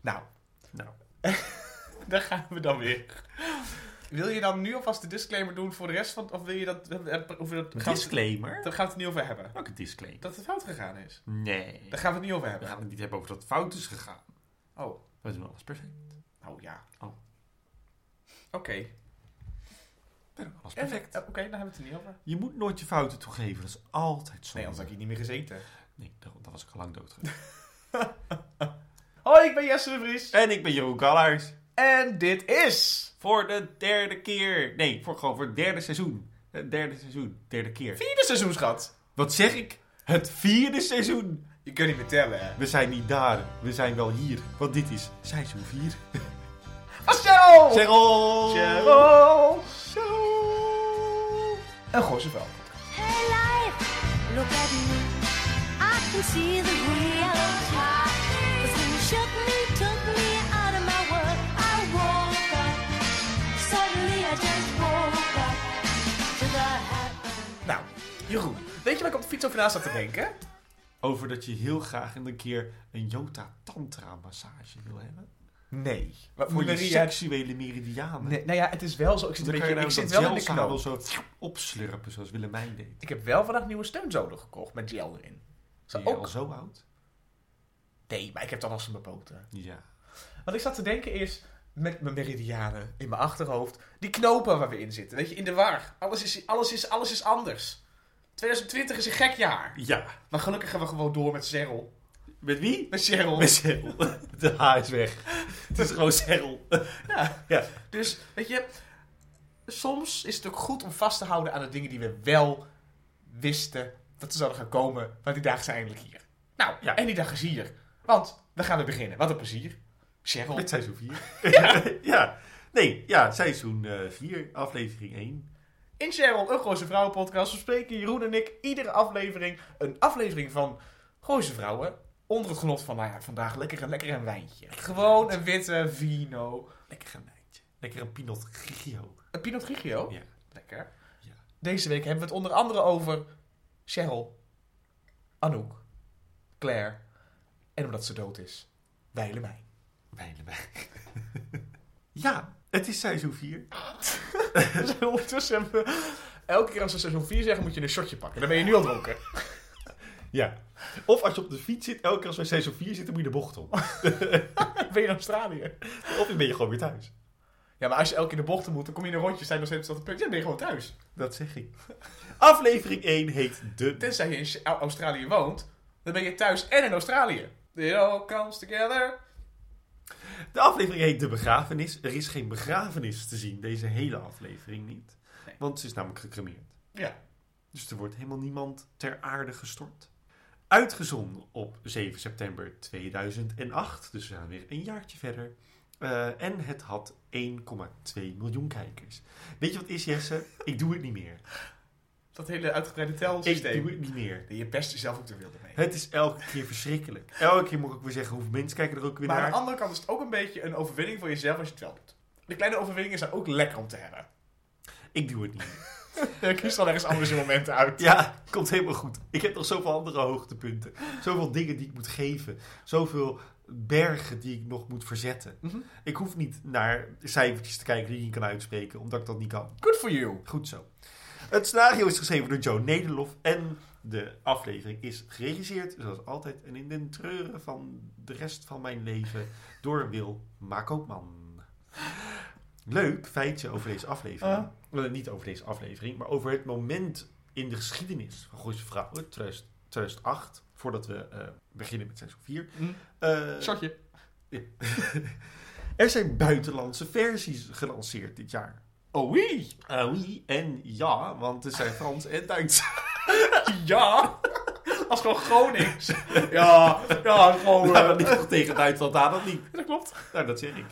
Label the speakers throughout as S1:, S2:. S1: Nou,
S2: Nou,
S1: daar gaan we dan weer. Wil je dan nu alvast de disclaimer doen voor de rest van... Of wil je dat... Of we dat gaan,
S2: disclaimer.
S1: daar gaan we het niet over hebben.
S2: Welke disclaimer?
S1: Dat het fout gegaan is.
S2: Nee.
S1: Daar gaan we het niet over
S2: We
S1: hebben.
S2: gaan het niet hebben over dat het fout is gegaan.
S1: Oh,
S2: We doen alles perfect.
S1: nou ja.
S2: Oh.
S1: Oké.
S2: We doen alles perfect.
S1: Perfect. Oké, dan hebben we het er niet over.
S2: Je moet nooit je fouten toegeven. Dat is altijd zo.
S1: Nee, anders had ik hier niet meer gezeten.
S2: Nee, dat dat was ik al lang dood geweest.
S1: Hoi, ik ben Jesse de Vries.
S2: en ik ben Jeroen Kallaars.
S1: En dit is...
S2: Voor de derde keer. Nee, voor, gewoon voor het derde seizoen. Het derde seizoen. Derde keer.
S1: Vierde seizoen, schat.
S2: Wat zeg ik? Het vierde seizoen.
S1: Je kunt niet meer tellen, hè.
S2: We zijn niet daar. We zijn wel hier. Want dit is seizoen 4.
S1: Ah, Cheryl! Cheryl!
S2: Cheryl!
S1: Een goze vel.
S3: Hey life, look at me. I can see the real top. Cause when you shook me, took me out of my world, I woke up. Suddenly I just woke up to the happy.
S1: Nou, Jeroen. Weet je waar ik op de fiets over na zat te denken?
S2: Over dat je heel graag een keer een Jota Tantra massage wil hebben.
S1: Nee.
S2: Voor je
S1: Maria...
S2: seksuele meridianen.
S1: Nee, nou ja, het is wel zo. Ik zit, een
S2: Dan kan je
S1: beetje,
S2: nou
S1: ik zit
S2: dat
S1: wel in de
S2: gelzadel
S1: knoop.
S2: zo opslurpen zoals Willemijn deed.
S1: Ik heb wel vandaag nieuwe steunzolen gekocht met gel erin. Zo
S2: Ben je al
S1: ook?
S2: zo oud?
S1: Nee, maar ik heb dan al eens mijn poten.
S2: Ja.
S1: Wat ik zat te denken is, met mijn meridianen in mijn achterhoofd, die knopen waar we in zitten, weet je, in de war. Alles is, alles is, alles is anders. 2020 is een gek jaar.
S2: Ja.
S1: Maar gelukkig gaan we gewoon door met Cheryl.
S2: Met wie?
S1: Met Cheryl.
S2: Met Serrel. De H is weg. Het is gewoon Serrel.
S1: Ja.
S2: Ja.
S1: Dus, weet je, soms is het ook goed om vast te houden aan de dingen die we wel wisten dat ze zouden gaan komen, want die dagen zijn eindelijk hier. Nou,
S2: Ja.
S1: en die dag is hier. Want we gaan weer beginnen. Wat een plezier. Cheryl.
S2: Met seizoen 4. ja. ja. Nee, ja, seizoen 4, aflevering 1.
S1: In Cheryl, een Gooise Vrouwen podcast, bespreken Jeroen en ik iedere aflevering een aflevering van Gooise Vrouwen. Onder het genot van, nou ja, vandaag lekker, een- lekker een wijntje. Gewoon een witte vino.
S2: Lekker een wijntje. Lekker een Pinot Grigio.
S1: Een Pinot Grigio.
S2: Ja.
S1: Lekker.
S2: Ja.
S1: Deze week hebben we het onder andere over Cheryl, Anouk, Claire en omdat ze dood is, Weilemijn.
S2: Willemijn. ja, het is seizoen 4.
S1: Dus ondertussen hebben we... Elke keer als we seizoen 4 zeggen, moet je een shotje pakken. Dan ben je nu al dronken.
S2: Ja. Of als je op de fiets zit, elke keer als we in seizoen 4 zitten, moet je de bocht om.
S1: Dan ben je in Australië.
S2: Of dan ben je gewoon weer thuis.
S1: Ja, maar als je elke keer de bochten moet, dan kom je in een rondje, sta je nog steeds op dat punt. Ja, dan ben je gewoon thuis.
S2: Dat zeg ik. Aflevering 1 heet de...
S1: Tenzij je in Au- Australië woont, dan ben je thuis en in Australië. It all comes together.
S2: De aflevering heet De Begrafenis. Er is geen begrafenis te zien, deze hele aflevering niet.
S1: Nee.
S2: Want ze is namelijk gecremeerd.
S1: Ja.
S2: Dus er wordt helemaal niemand ter aarde gestort. Uitgezonden op 7 september 2008. Dus we gaan weer een jaartje verder. Eh, en het had 1,2 miljoen kijkers. Weet je wat is, Jesse? Ik doe het niet meer.
S1: Dat hele uitgebreide
S2: Ik doe
S1: telsysteem.
S2: het niet meer.
S1: Je best jezelf ook de wilde mee.
S2: Het is elke keer verschrikkelijk. Elke keer moet ik weer zeggen hoeveel mensen kijken er ook weer
S1: Maar aan
S2: naar.
S1: de andere kant is het ook een beetje een overwinning voor jezelf als je het wel doet. De kleine overwinningen zijn ook lekker om te hebben.
S2: Ik doe het niet meer.
S1: Je kiest dan ergens anders je momenten uit.
S2: Ja, komt helemaal goed. Ik heb nog zoveel andere hoogtepunten. Zoveel dingen die ik moet geven. Zoveel bergen die ik nog moet verzetten.
S1: Mhm.
S2: Ik hoef niet naar cijfertjes te kijken die ik niet kan uitspreken, omdat ik dat niet kan.
S1: Good for you.
S2: Goed zo. Het scenario is geschreven door Joe Nederlof en de aflevering is geregisseerd, zoals altijd, en in den treuren van de rest van mijn leven door Wil Maakopman. Leuk feitje over deze aflevering.
S1: Ah.
S2: Wel, niet over deze aflevering, maar over het moment in de geschiedenis van Gooise Vrouwen, 2000 2008, voordat we eh, beginnen met seizoen 4.
S1: Mm.
S2: Eh,
S1: Shotje.
S2: er zijn buitenlandse versies gelanceerd dit jaar.
S1: Oh oui.
S2: Eh, oui en ja, want het zijn Frans en Duits.
S1: Ja. Als gewoon Gronings. Ja. Ja, gewoon...
S2: Ja,
S1: eh,
S2: dat ligt toch tegen Duitsland aan, dat niet?
S1: dat klopt.
S2: Nou, dat zeg ik.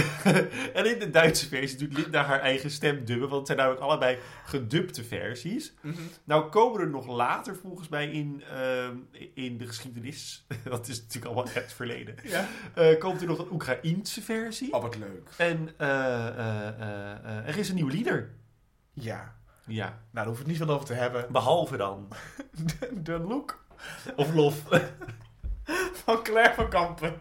S2: en in de Duitse versie doet Linda haar eigen stem dubben, want het zijn namelijk allebei gedubte versies.
S1: Mhm.
S2: Nou komen er nog later volgens mij in, ehm, in de geschiedenis, dat is natuurlijk allemaal echt verleden,
S1: Ja.
S2: Eh komt er nog een Oekraïense versie.
S1: Oh, wat leuk.
S2: En eh, eh, eh, eh, er is een nieuw lieder.
S1: Ja.
S2: Ja,
S1: Nou, daar hoef ik het niet veel over te hebben.
S2: behalve dan.
S1: De, de look
S2: Of lof.
S1: van Claire van Kampen.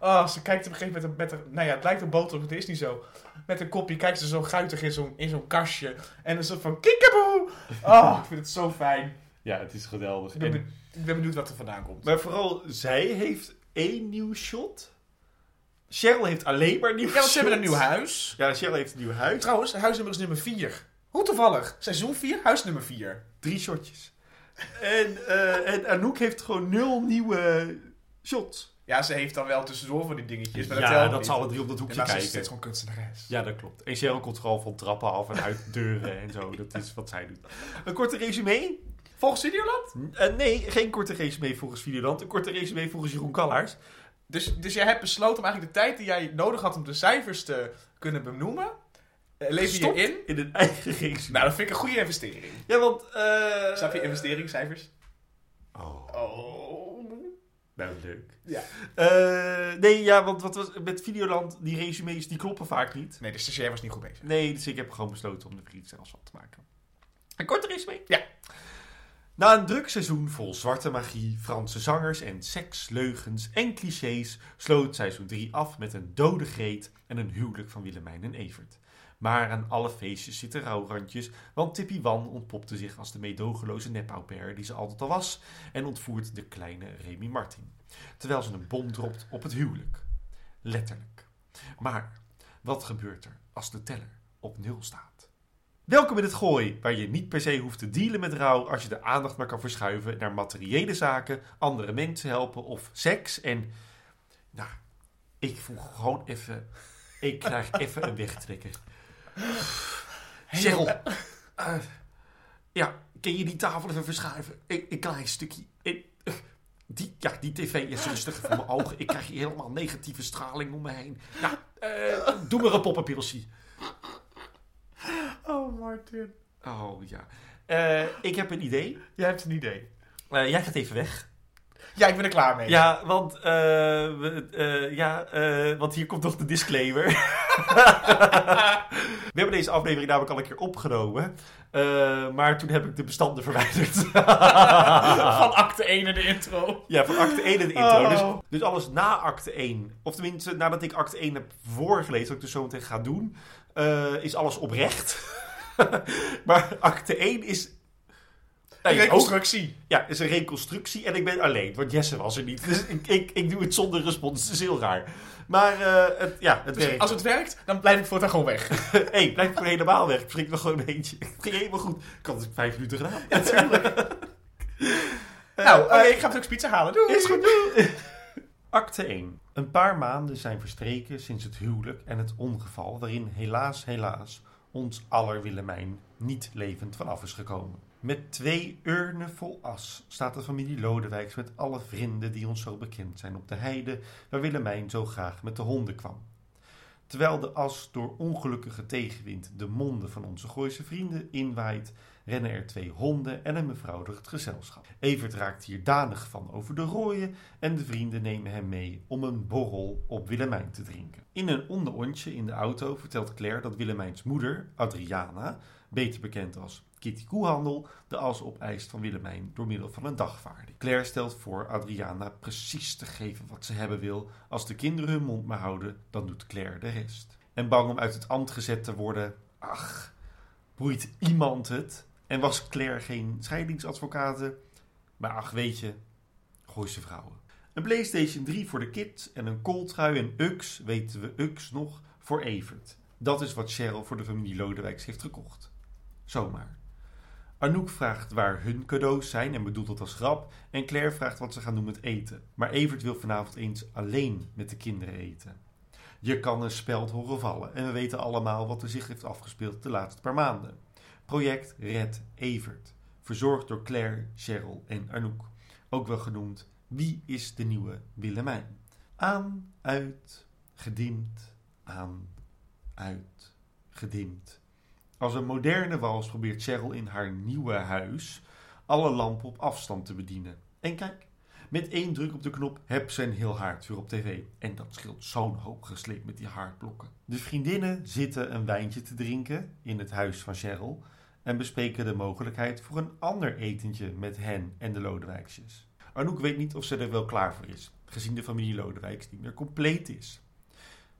S1: Ah, ze kijkt op een gegeven moment met haar, nou ja, het lijkt een boter, maar het is niet zo. Met een kopje kijkt ze zo guitig in zo'n, in zo'n kastje. En een soort van kikkeboe. Ah, ik vind het zo fijn.
S4: Ja, het is geweldig.
S1: Ik ben,
S4: En-
S1: be- ik ben benieuwd wat er vandaan komt.
S2: Maar vooral zij heeft één nieuw shot. Cheryl heeft alleen maar nieuwe
S1: Ja, want ze hebben een
S2: shots.
S1: nieuw huis.
S2: Ja, Cheryl heeft een nieuw huis.
S1: Trouwens, huisnummer is nummer 4. Hoe toevallig. Seizoen 4, huisnummer 4.
S2: Drie shotjes. En, eh, en Anouk heeft gewoon nul nieuwe shots.
S1: Ja, ze heeft dan wel tussendoor voor die dingetjes. Maar dat
S2: ja,
S1: telt
S2: dat
S1: niet.
S2: zal alle drie op dat
S1: Ja,
S2: hoekje
S1: maar ze is
S2: kijken.
S1: steeds gewoon kunstenares.
S2: Ja, dat klopt. En Cheryl komt gewoon van trappen af en uit deuren en zo. Dat is wat zij doet. Een korte resume?
S1: Volgens Videoland?
S2: Eh, nee, geen korte resume volgens Videoland. Een korte resume volgens Jeroen Kallaars.
S1: Dus, dus jij hebt besloten om eigenlijk de tijd die jij nodig had om de cijfers te kunnen benoemen, eh, lever je
S2: Gestopt
S1: in.
S2: in een eigen reeks.
S1: Nou, dat vind ik een goede investering.
S2: Ja, want... eh
S1: Snap je investeringscijfers?
S2: Oh,
S1: Oh.
S2: nou leuk.
S1: Ja.
S2: Eh, nee, ja, want wat was, met Videoland, die resumes, die kloppen vaak niet.
S1: Nee, de stagiair was niet goed bezig.
S2: Nee, dus ik heb gewoon besloten om de vriend zelfs wat te maken. Een korte resume?
S1: Ja.
S2: Na een druk seizoen vol zwarte magie, Franse zangers en seks, leugens en clichés sloot seizoen 3 af met een dode greet en een huwelijk van Willemijn en Evert. Maar aan alle feestjes zitten rouwrandjes, want Tippy Wan ontpopte zich als de meedogenloze nepauper die ze altijd al was en ontvoert de kleine Remy Martin, terwijl ze een bom dropt op het huwelijk. Letterlijk. Maar wat gebeurt er als de teller op nul staat? Welkom in het gooi, waar je niet per se hoeft te dealen met rouw als je de aandacht maar kan verschuiven naar materiële zaken, andere mensen helpen of seks. En nou, ik voel gewoon even, ik krijg even een wegtrekker. Cheryl, eh, ja, kun je die tafel even verschuiven? Een, een klein stukje. En, eh, die, ja, die tv is rustig voor mijn ogen. Ik krijg hier helemaal negatieve straling om me heen. Nou, eh, doe maar een poppenpilsje.
S1: Oh, Martin.
S2: Oh ja. Eh, ik heb een idee.
S1: Jij hebt een idee.
S2: Eh, jij gaat even weg.
S1: Ja, ik ben er klaar mee.
S2: Ja, want, eh, we- eh, ja, eh, want hier komt nog de disclaimer. we hebben deze aflevering namelijk al een keer opgenomen. Eh, maar toen heb ik de bestanden verwijderd.
S1: Van acte 1 en de intro.
S2: ja, van acte 1 en de intro.
S1: Oh.
S2: Dus, dus alles na acte 1. Of tenminste, nadat ik acte 1 heb voorgelezen, wat ik dus zo meteen ga doen, eh, is alles oprecht. maar acte 1 is... Nee, ook-
S1: Reconstructie.
S2: Ja, het is een reconstructie en ik ben alleen, want Jesse was er niet. Dus ik, ik, ik doe het zonder respons, het is heel raar. Maar eh, het, ja, het
S1: Dus
S2: werkt.
S1: als het werkt, dan blijf ik voortaan gewoon weg.
S2: Hé, hey, blijf gewoon helemaal weg. Drink nog gewoon eentje. Het ging helemaal goed. Ik had het vijf minuten gedaan.
S1: nou, oké, ik ga straks pizza halen. Doei.
S2: Is goed, Eh, doei. Acte 1. Een paar maanden zijn verstreken sinds het huwelijk en het ongeval... waarin helaas, helaas, ons aller Willemijn niet levend vanaf is gekomen. Met twee urnen vol as staat de familie Lodewijks met alle vrienden die ons zo bekend zijn op de heide... waar Willemijn zo graag met de honden kwam. Terwijl de as door ongelukkige tegenwind de monden van onze Gooise vrienden inwaait, rennen er twee honden en een mevrouw door het gezelschap. Evert raakt hier danig van over de rooien en de vrienden nemen hem mee om een borrel op Willemijn te drinken. In een onderontje in de auto vertelt Claire dat Willemijns moeder, Adriana, beter bekend als Kitty Koehandel, de as opeist van Willemijn door middel van een dagvaarding. Claire stelt voor Adriana precies te geven wat ze hebben wil. Als de kinderen hun mond maar houden, dan doet Claire de rest. En bang om uit het ambt gezet te worden, ach, boeit iemand het? En was Claire geen scheidingsadvocate? Maar ach, weet je, gooi ze vrouwen. Een PlayStation 3 voor de kids en een kooltrui en Ux, weten we Ux nog, voor Evert. Dat is wat Cheryl voor de familie Lodewijks heeft gekocht. Zomaar. Anouk vraagt waar hun cadeaus zijn en bedoelt dat als grap. En Claire vraagt wat ze gaan doen met eten. Maar Evert wil vanavond eens alleen met de kinderen eten. Je kan een speld horen vallen en we weten allemaal wat er zich heeft afgespeeld de laatste paar maanden. Project Red Evert, verzorgd door Claire, Cheryl en Anouk. Ook wel genoemd Wie is de nieuwe Willemijn? Aan, uit, gedimd, aan, uit, gedimd. Als een moderne wals probeert Cheryl in haar nieuwe huis alle lampen op afstand te bedienen. En kijk, met één druk op de knop heb ze een heel haardvuur op tv. En dat scheelt zo'n hoop gesleept met die haardblokken. De vriendinnen zitten een wijntje te drinken in het huis van Cheryl. En bespreken de mogelijkheid voor een ander etentje met hen en de Lodewijksjes. Anouk weet niet of ze er wel klaar voor is. gezien de familie Lodewijks niet meer compleet is.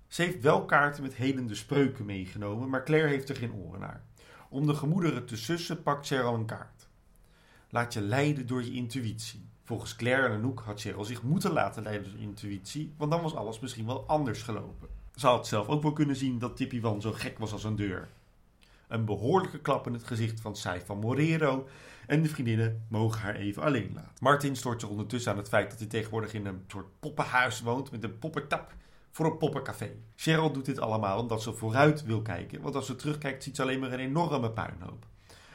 S2: Ze heeft wel kaarten met helende spreuken meegenomen, maar Claire heeft er geen oren naar. Om de gemoederen te sussen pakt Cheryl een kaart. Laat je leiden door je intuïtie. Volgens Claire en Anouk had Cheryl zich moeten laten leiden door intuïtie, want dan was alles misschien wel anders gelopen. Ze had zelf ook wel kunnen zien dat Tippy Wan zo gek was als een deur. Een behoorlijke klap in het gezicht van Sai van Morero en de vriendinnen mogen haar even alleen laten. Martin stort zich ondertussen aan het feit dat hij tegenwoordig in een soort poppenhuis woont met een poppentap voor een poppencafé. Cheryl doet dit allemaal omdat ze vooruit wil kijken, want als ze terugkijkt ziet ze alleen maar een enorme puinhoop.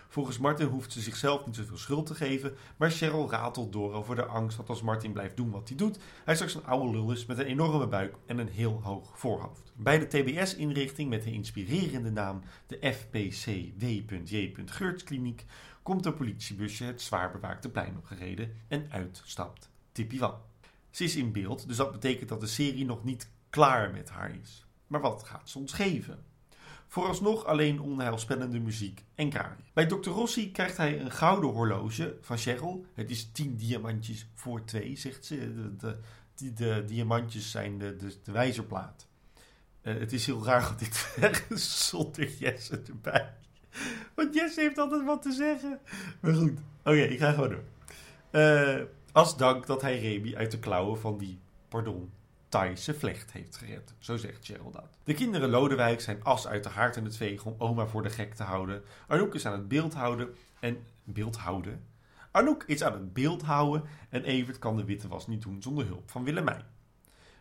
S2: Volgens Martin hoeft ze zichzelf niet zoveel schuld te geven, maar Cheryl ratelt door over de angst dat als Martin blijft doen wat hij doet, hij straks een oude lul is met een enorme buik en een heel hoog voorhoofd. Bij de TBS-inrichting met de inspirerende naam de FPCW.J.Geurtskliniek komt een politiebusje het zwaar bewaakte plein opgereden en uitstapt Tippy Wan. Ze is in beeld, dus dat betekent dat de serie nog niet klaar met haar is. Maar wat gaat ze ons geven? Vooralsnog alleen onheilspellende muziek en kraaien. Bij Dr. Rossi krijgt hij een gouden horloge van Cheryl. Het is 10 diamantjes voor 2, zegt ze. De, de, die- de diamantjes zijn de, de, de wijzerplaat. Eh, het is heel raar dat dit ergens zonder Jesse erbij. Want Jesse heeft altijd wat te zeggen. Maar goed, oké, ik ga gewoon door. Eh, als dank dat hij Remy uit de klauwen van die, pardon, Thaise vlecht heeft gered. Zo zegt Cheryl dat. De kinderen Lodewijk zijn as uit de haard en het vegen om oma voor de gek te houden. Arnoek is aan het beeld houden en... Beeld houden? Arnoek is aan het beeld houden en Evert kan de witte was niet doen zonder hulp van Willemijn.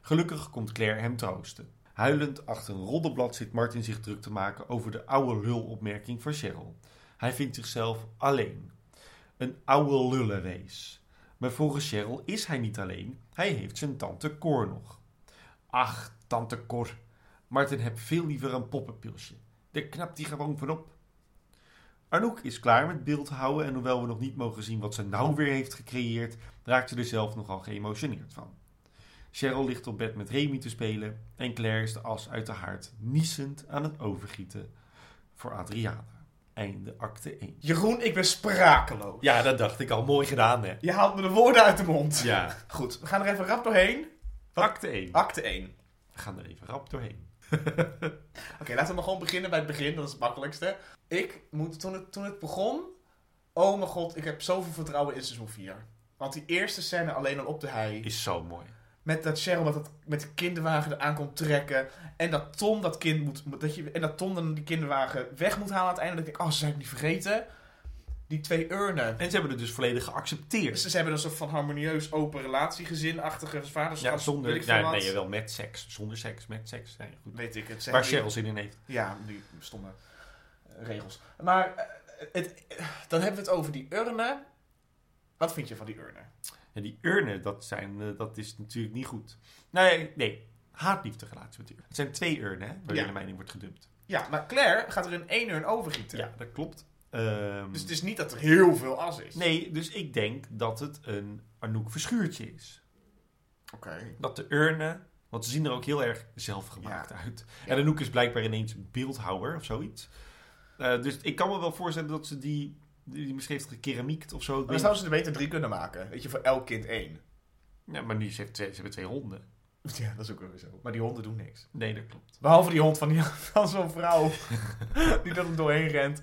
S2: Gelukkig komt Claire hem troosten. Huilend achter een roddelblad zit Martin zich druk te maken over de oude lul opmerking van Cheryl. Hij vindt zichzelf alleen. Een oude lullenwees. Maar volgens Cheryl is hij niet alleen. Hij heeft zijn tante Cor nog. Ach, tante Cor. Martin heb veel liever een poppenpilsje. Daar knapt hij gewoon van op. Arnoek is klaar met beeldhouden en hoewel we nog niet mogen zien wat ze nou weer heeft gecreëerd, raakt ze er zelf nogal geëmotioneerd van. Cheryl ligt op bed met Remy te spelen en Claire is de as uit de haard niesend aan het overgieten voor Adriana. Einde acte 1.
S1: Jeroen, ik ben sprakeloos.
S2: Ja, dat dacht ik al. Mooi gedaan, hè?
S1: Je haalt me de woorden uit de mond.
S2: Ja.
S1: Goed, we gaan er even rap doorheen.
S2: Acte 1.
S1: Acte 1.
S2: We gaan er even rap doorheen.
S1: Oké, laten we maar gewoon beginnen bij het begin. Dat is het makkelijkste. Ik moet, toen het, toen het begon... Oh mijn god, ik heb zoveel vertrouwen in seizoen 4. Want die eerste scène alleen al op de hei...
S2: Is zo mooi.
S1: Met dat Cheryl met, dat, met de kinderwagen eraan komt trekken. En dat Tom dat kind moet. moet- Dat je, en dat Tom dan die kinderwagen weg moet halen aan het einde. Dan denk ik, oh, ze zijn het niet vergeten. Die twee urnen.
S2: En ze hebben het dus volledig geaccepteerd.
S1: Ze, ze hebben een soort van harmonieus open relatie, gezinachtige vaderschap.
S2: Ja, zonder...
S1: weet ik veel
S2: ja,
S1: wat.
S2: nee, wel met seks. Zonder seks, met seks. Nee, goed.
S1: Weet ik het.
S2: Waar
S1: zeggen die-
S2: Cheryl zin in heeft.
S1: Ja, die stomme eh, regels. Maar eh, het, dan hebben we het over die urnen. Wat vind je van die urnen?
S2: En die urnen, dat, zijn, eh, dat is natuurlijk niet goed. Nee, nee. Haatliefde relatie met die urnen. Het zijn twee urnen, hè? Waar
S1: Ja.
S2: Willemijn in wordt gedumpt.
S1: Ja, maar Claire gaat er in één urn overgieten.
S2: Ja, dat klopt. Ehm,
S1: Dus het is niet dat er heel veel as is.
S2: Nee, dus ik denk dat het een Arnoek Verschuurtje is.
S1: Oké.
S2: dat de urnen. Want ze zien er ook heel erg zelfgemaakt uit. En de Noek is blijkbaar ineens beeldhouwer of zoiets. Eh, dus ik kan me wel voorstellen dat ze die. die misschien heeft gekeramiekt of zo.
S1: Maar
S2: ik
S1: dan
S2: weet niet.
S1: zouden ze er beter drie kunnen maken. Weet je, voor elk kind één.
S2: Ja, maar nu ze, heeft twee, ze hebben twee honden.
S1: Ja, dat is ook wel weer zo. Maar die honden doen niks.
S2: Nee, dat klopt.
S1: Behalve die hond van, die, van zo'n vrouw. die dat er doorheen rent.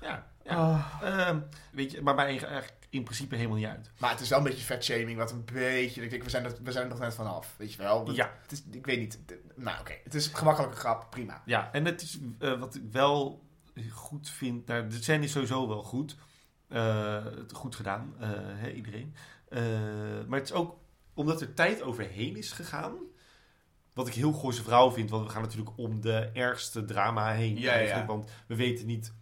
S2: Ja. ja.
S1: Ah.
S2: Ehm, weet je, maar mij eigenlijk in principe helemaal niet uit.
S1: Maar het is wel een beetje vetshaming. Wat een beetje... Ik denk, we zijn, er, we zijn er nog net vanaf. Weet je wel? Dat-
S2: Ja.
S1: Het is, ik weet niet. De- nou, oké. Het is een gemakkelijke grap. Prima.
S2: Ja, en het is eh, wat ik wel goed vind. Nou, de scène is sowieso wel goed. Eh, het goed gedaan, eh, hè, iedereen. Eh, maar het is ook omdat er tijd overheen is gegaan. Wat ik heel Gooise vrouw vind, want we gaan natuurlijk om de ergste drama heen.
S1: Ja, ja.
S2: eigenlijk, Want we weten niet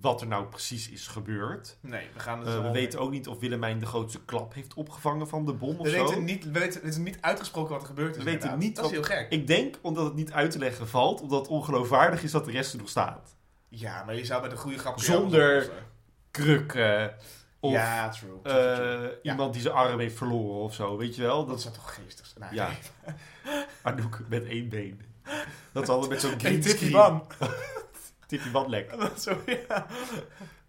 S2: wat er nou precies is gebeurd.
S1: Nee, we gaan dus het
S2: Eh,
S1: zo-
S2: we weten ook niet of Willemijn de grootste klap heeft opgevangen van de bom of
S1: we
S2: zo.
S1: weten niet, we weten, het is niet uitgesproken wat er gebeurd is.
S2: We weten
S1: inderdaad.
S2: niet
S1: dat is heel
S2: wat-
S1: gek.
S2: Ik denk omdat het niet uit te leggen valt, omdat het ongeloofwaardig is dat de rest er nog staat.
S1: Ja, maar je zou bij de goede grap...
S2: Zonder- Krukken eh, of
S1: Ja, true. true, true,
S2: Eh,
S1: true. Ja.
S2: Iemand die zijn arm heeft verloren of zo, weet je wel?
S1: Dat
S2: Dat is
S1: zou toch geestig zijn? Nee,
S2: Ja. Anouk met één been. Dat is altijd met zo'n
S1: Geen
S2: green
S1: tipje
S2: screen.
S1: van.
S2: Tippie wat lek.
S1: Zo, ja.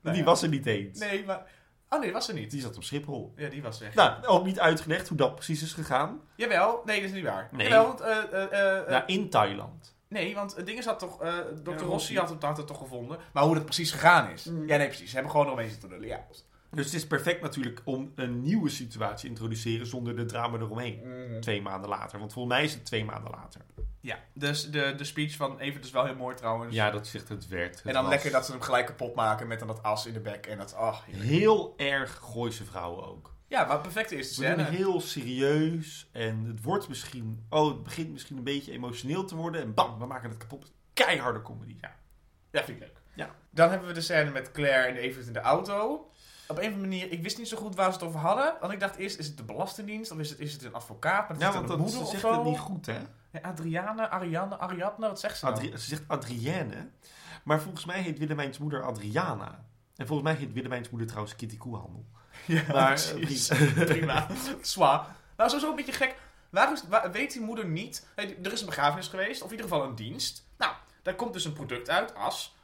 S1: Nou
S2: die
S1: ja.
S2: was er niet eens.
S1: Nee, maar Oh nee, was ze niet.
S2: Die zat op Schiphol.
S1: Ja, die was weg.
S2: Nou, ook niet uitgelegd hoe dat precies is gegaan.
S1: Jawel, nee, dat is niet waar.
S2: Nee.
S1: Jawel, want, eh, eh, eh, eh,
S2: Nou, in Thailand.
S1: Nee, want het ding is dat toch, eh Dr.
S2: Ja,
S1: Rossi
S2: Rossi.
S1: had het, had het toch gevonden. Maar hoe dat precies gegaan is.
S2: Mm.
S1: Ja, nee, precies. Ze hebben gewoon nog eens te lullen. Ja.
S2: Dus het is perfect natuurlijk om een nieuwe situatie te introduceren zonder de drama eromheen.
S1: Mm.
S2: Twee maanden later. Want volgens mij is het twee maanden later.
S1: Ja, dus de, de speech van Evert is wel heel mooi trouwens.
S2: Ja, dat zegt het werd. Het
S1: en dan
S2: was
S1: lekker dat ze hem gelijk kapot maken met dan dat as in de bek. En dat, ach. heerlijk.
S2: Heel erg Gooise vrouwen ook.
S1: Ja, maar perfect is de
S2: Ze zijn
S1: scène.
S2: heel serieus en het wordt misschien... Oh, het begint misschien een beetje emotioneel te worden. En bam, we maken het kapot. Keiharde comedy. Ja.
S1: Ja, vind ik leuk.
S2: Ja.
S1: Dan hebben we de scène met Claire en Evert in de auto. Op een of andere manier, ik wist niet zo goed waar ze het over hadden. Want ik dacht eerst, is het de Belastingdienst? Of is het, is het een advocaat? Maar
S2: Ja,
S1: is het
S2: want
S1: een
S2: dat,
S1: moeder
S2: ze
S1: of
S2: zegt
S1: zo?
S2: het niet goed, hè?
S1: Nee, Adriane, Ariane, Ariadne, wat zegt ze nou?
S2: Adri- ze zegt Adrienne. Maar volgens mij heet Willemijns moeder Adriana. En volgens mij heet Willemijns moeder trouwens Kitty Koehandel.
S1: Ja,
S2: Maar,
S1: precies.
S2: eh,
S1: Prima. Zwa. Nou, sowieso een beetje gek. Waarom is- wa- weet die moeder niet... Hey, d- Er is een begrafenis geweest, of in ieder geval een dienst. Nou, daar komt dus een product uit, as.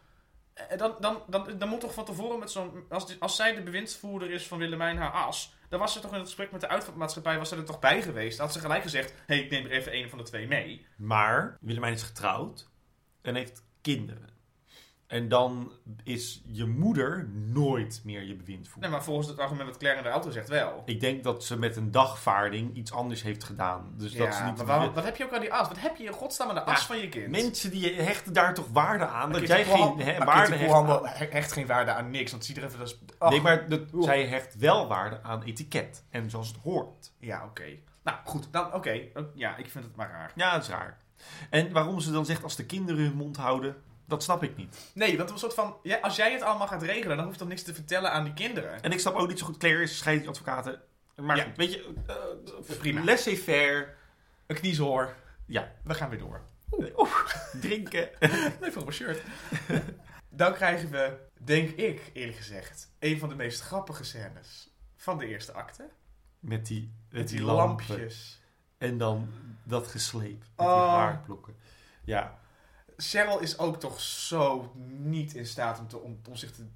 S1: Eh, Dan, dan, dan, dan moet toch van tevoren met zo'n... Als, die- als zij de bewindsvoerder is van Willemijn haar as... Dan was ze toch in het gesprek met de uitvaartmaatschappij... Was ze er toch bij geweest? Dan had ze gelijk gezegd... Hé, hey, ik neem er even een van de twee mee.
S2: Maar Willemijn is getrouwd en heeft kinderen. En dan is je moeder nooit meer je bewindvoerder.
S1: Nee, maar volgens het argument dat Claire in de auto zegt wel.
S2: Ik denk dat ze met een dagvaarding iets anders heeft gedaan. Dus dat ze
S1: ja,
S2: niet
S1: maar waarom, wat heb je ook aan die as? Wat heb je in godsnaam aan de as
S2: Ja,
S1: van je kind?
S2: Mensen die hechten daar toch waarde aan. Dat
S1: Kitty
S2: jij
S1: Koehan-
S2: geen hè,
S1: maar
S2: waarde
S1: Kitty
S2: hecht
S1: Koehandel
S2: aan-
S1: he- hecht geen waarde aan niks, want zie er even... Dat is, Ach,
S2: Nee, maar dat,
S1: Oeh.
S2: zij hecht wel waarde aan etiket. En zoals het hoort.
S1: Ja, oké. Nou, goed. Dan, oké. Eh, Ja, ik vind het maar raar.
S2: Ja, dat is raar. En waarom ze dan zegt als de kinderen hun mond houden, dat snap ik niet.
S1: Nee, want het was een soort van... Ja, als jij het allemaal gaat regelen, dan hoef je toch niks te vertellen aan die kinderen?
S2: En ik snap ook niet zo goed, Claire is scheidingsadvocaten. Maar
S1: Ja.
S2: goed, weet je, eh,
S1: Prima.
S2: laissez-faire,
S1: Een kniezoor.
S2: Ja.
S1: We gaan weer door.
S2: drinken.
S1: Nee, voor mijn shirt. dan krijgen we, denk ik eerlijk gezegd, een van de meest grappige scènes van de eerste acte. Met,
S2: Met die, met
S1: die,
S2: die
S1: lampjes.
S2: lampen. En dan dat gesleep, met
S1: Oh.
S2: die haarplokken. Ja,
S1: Cheryl is ook toch zo niet in staat om, te, om, om zich te,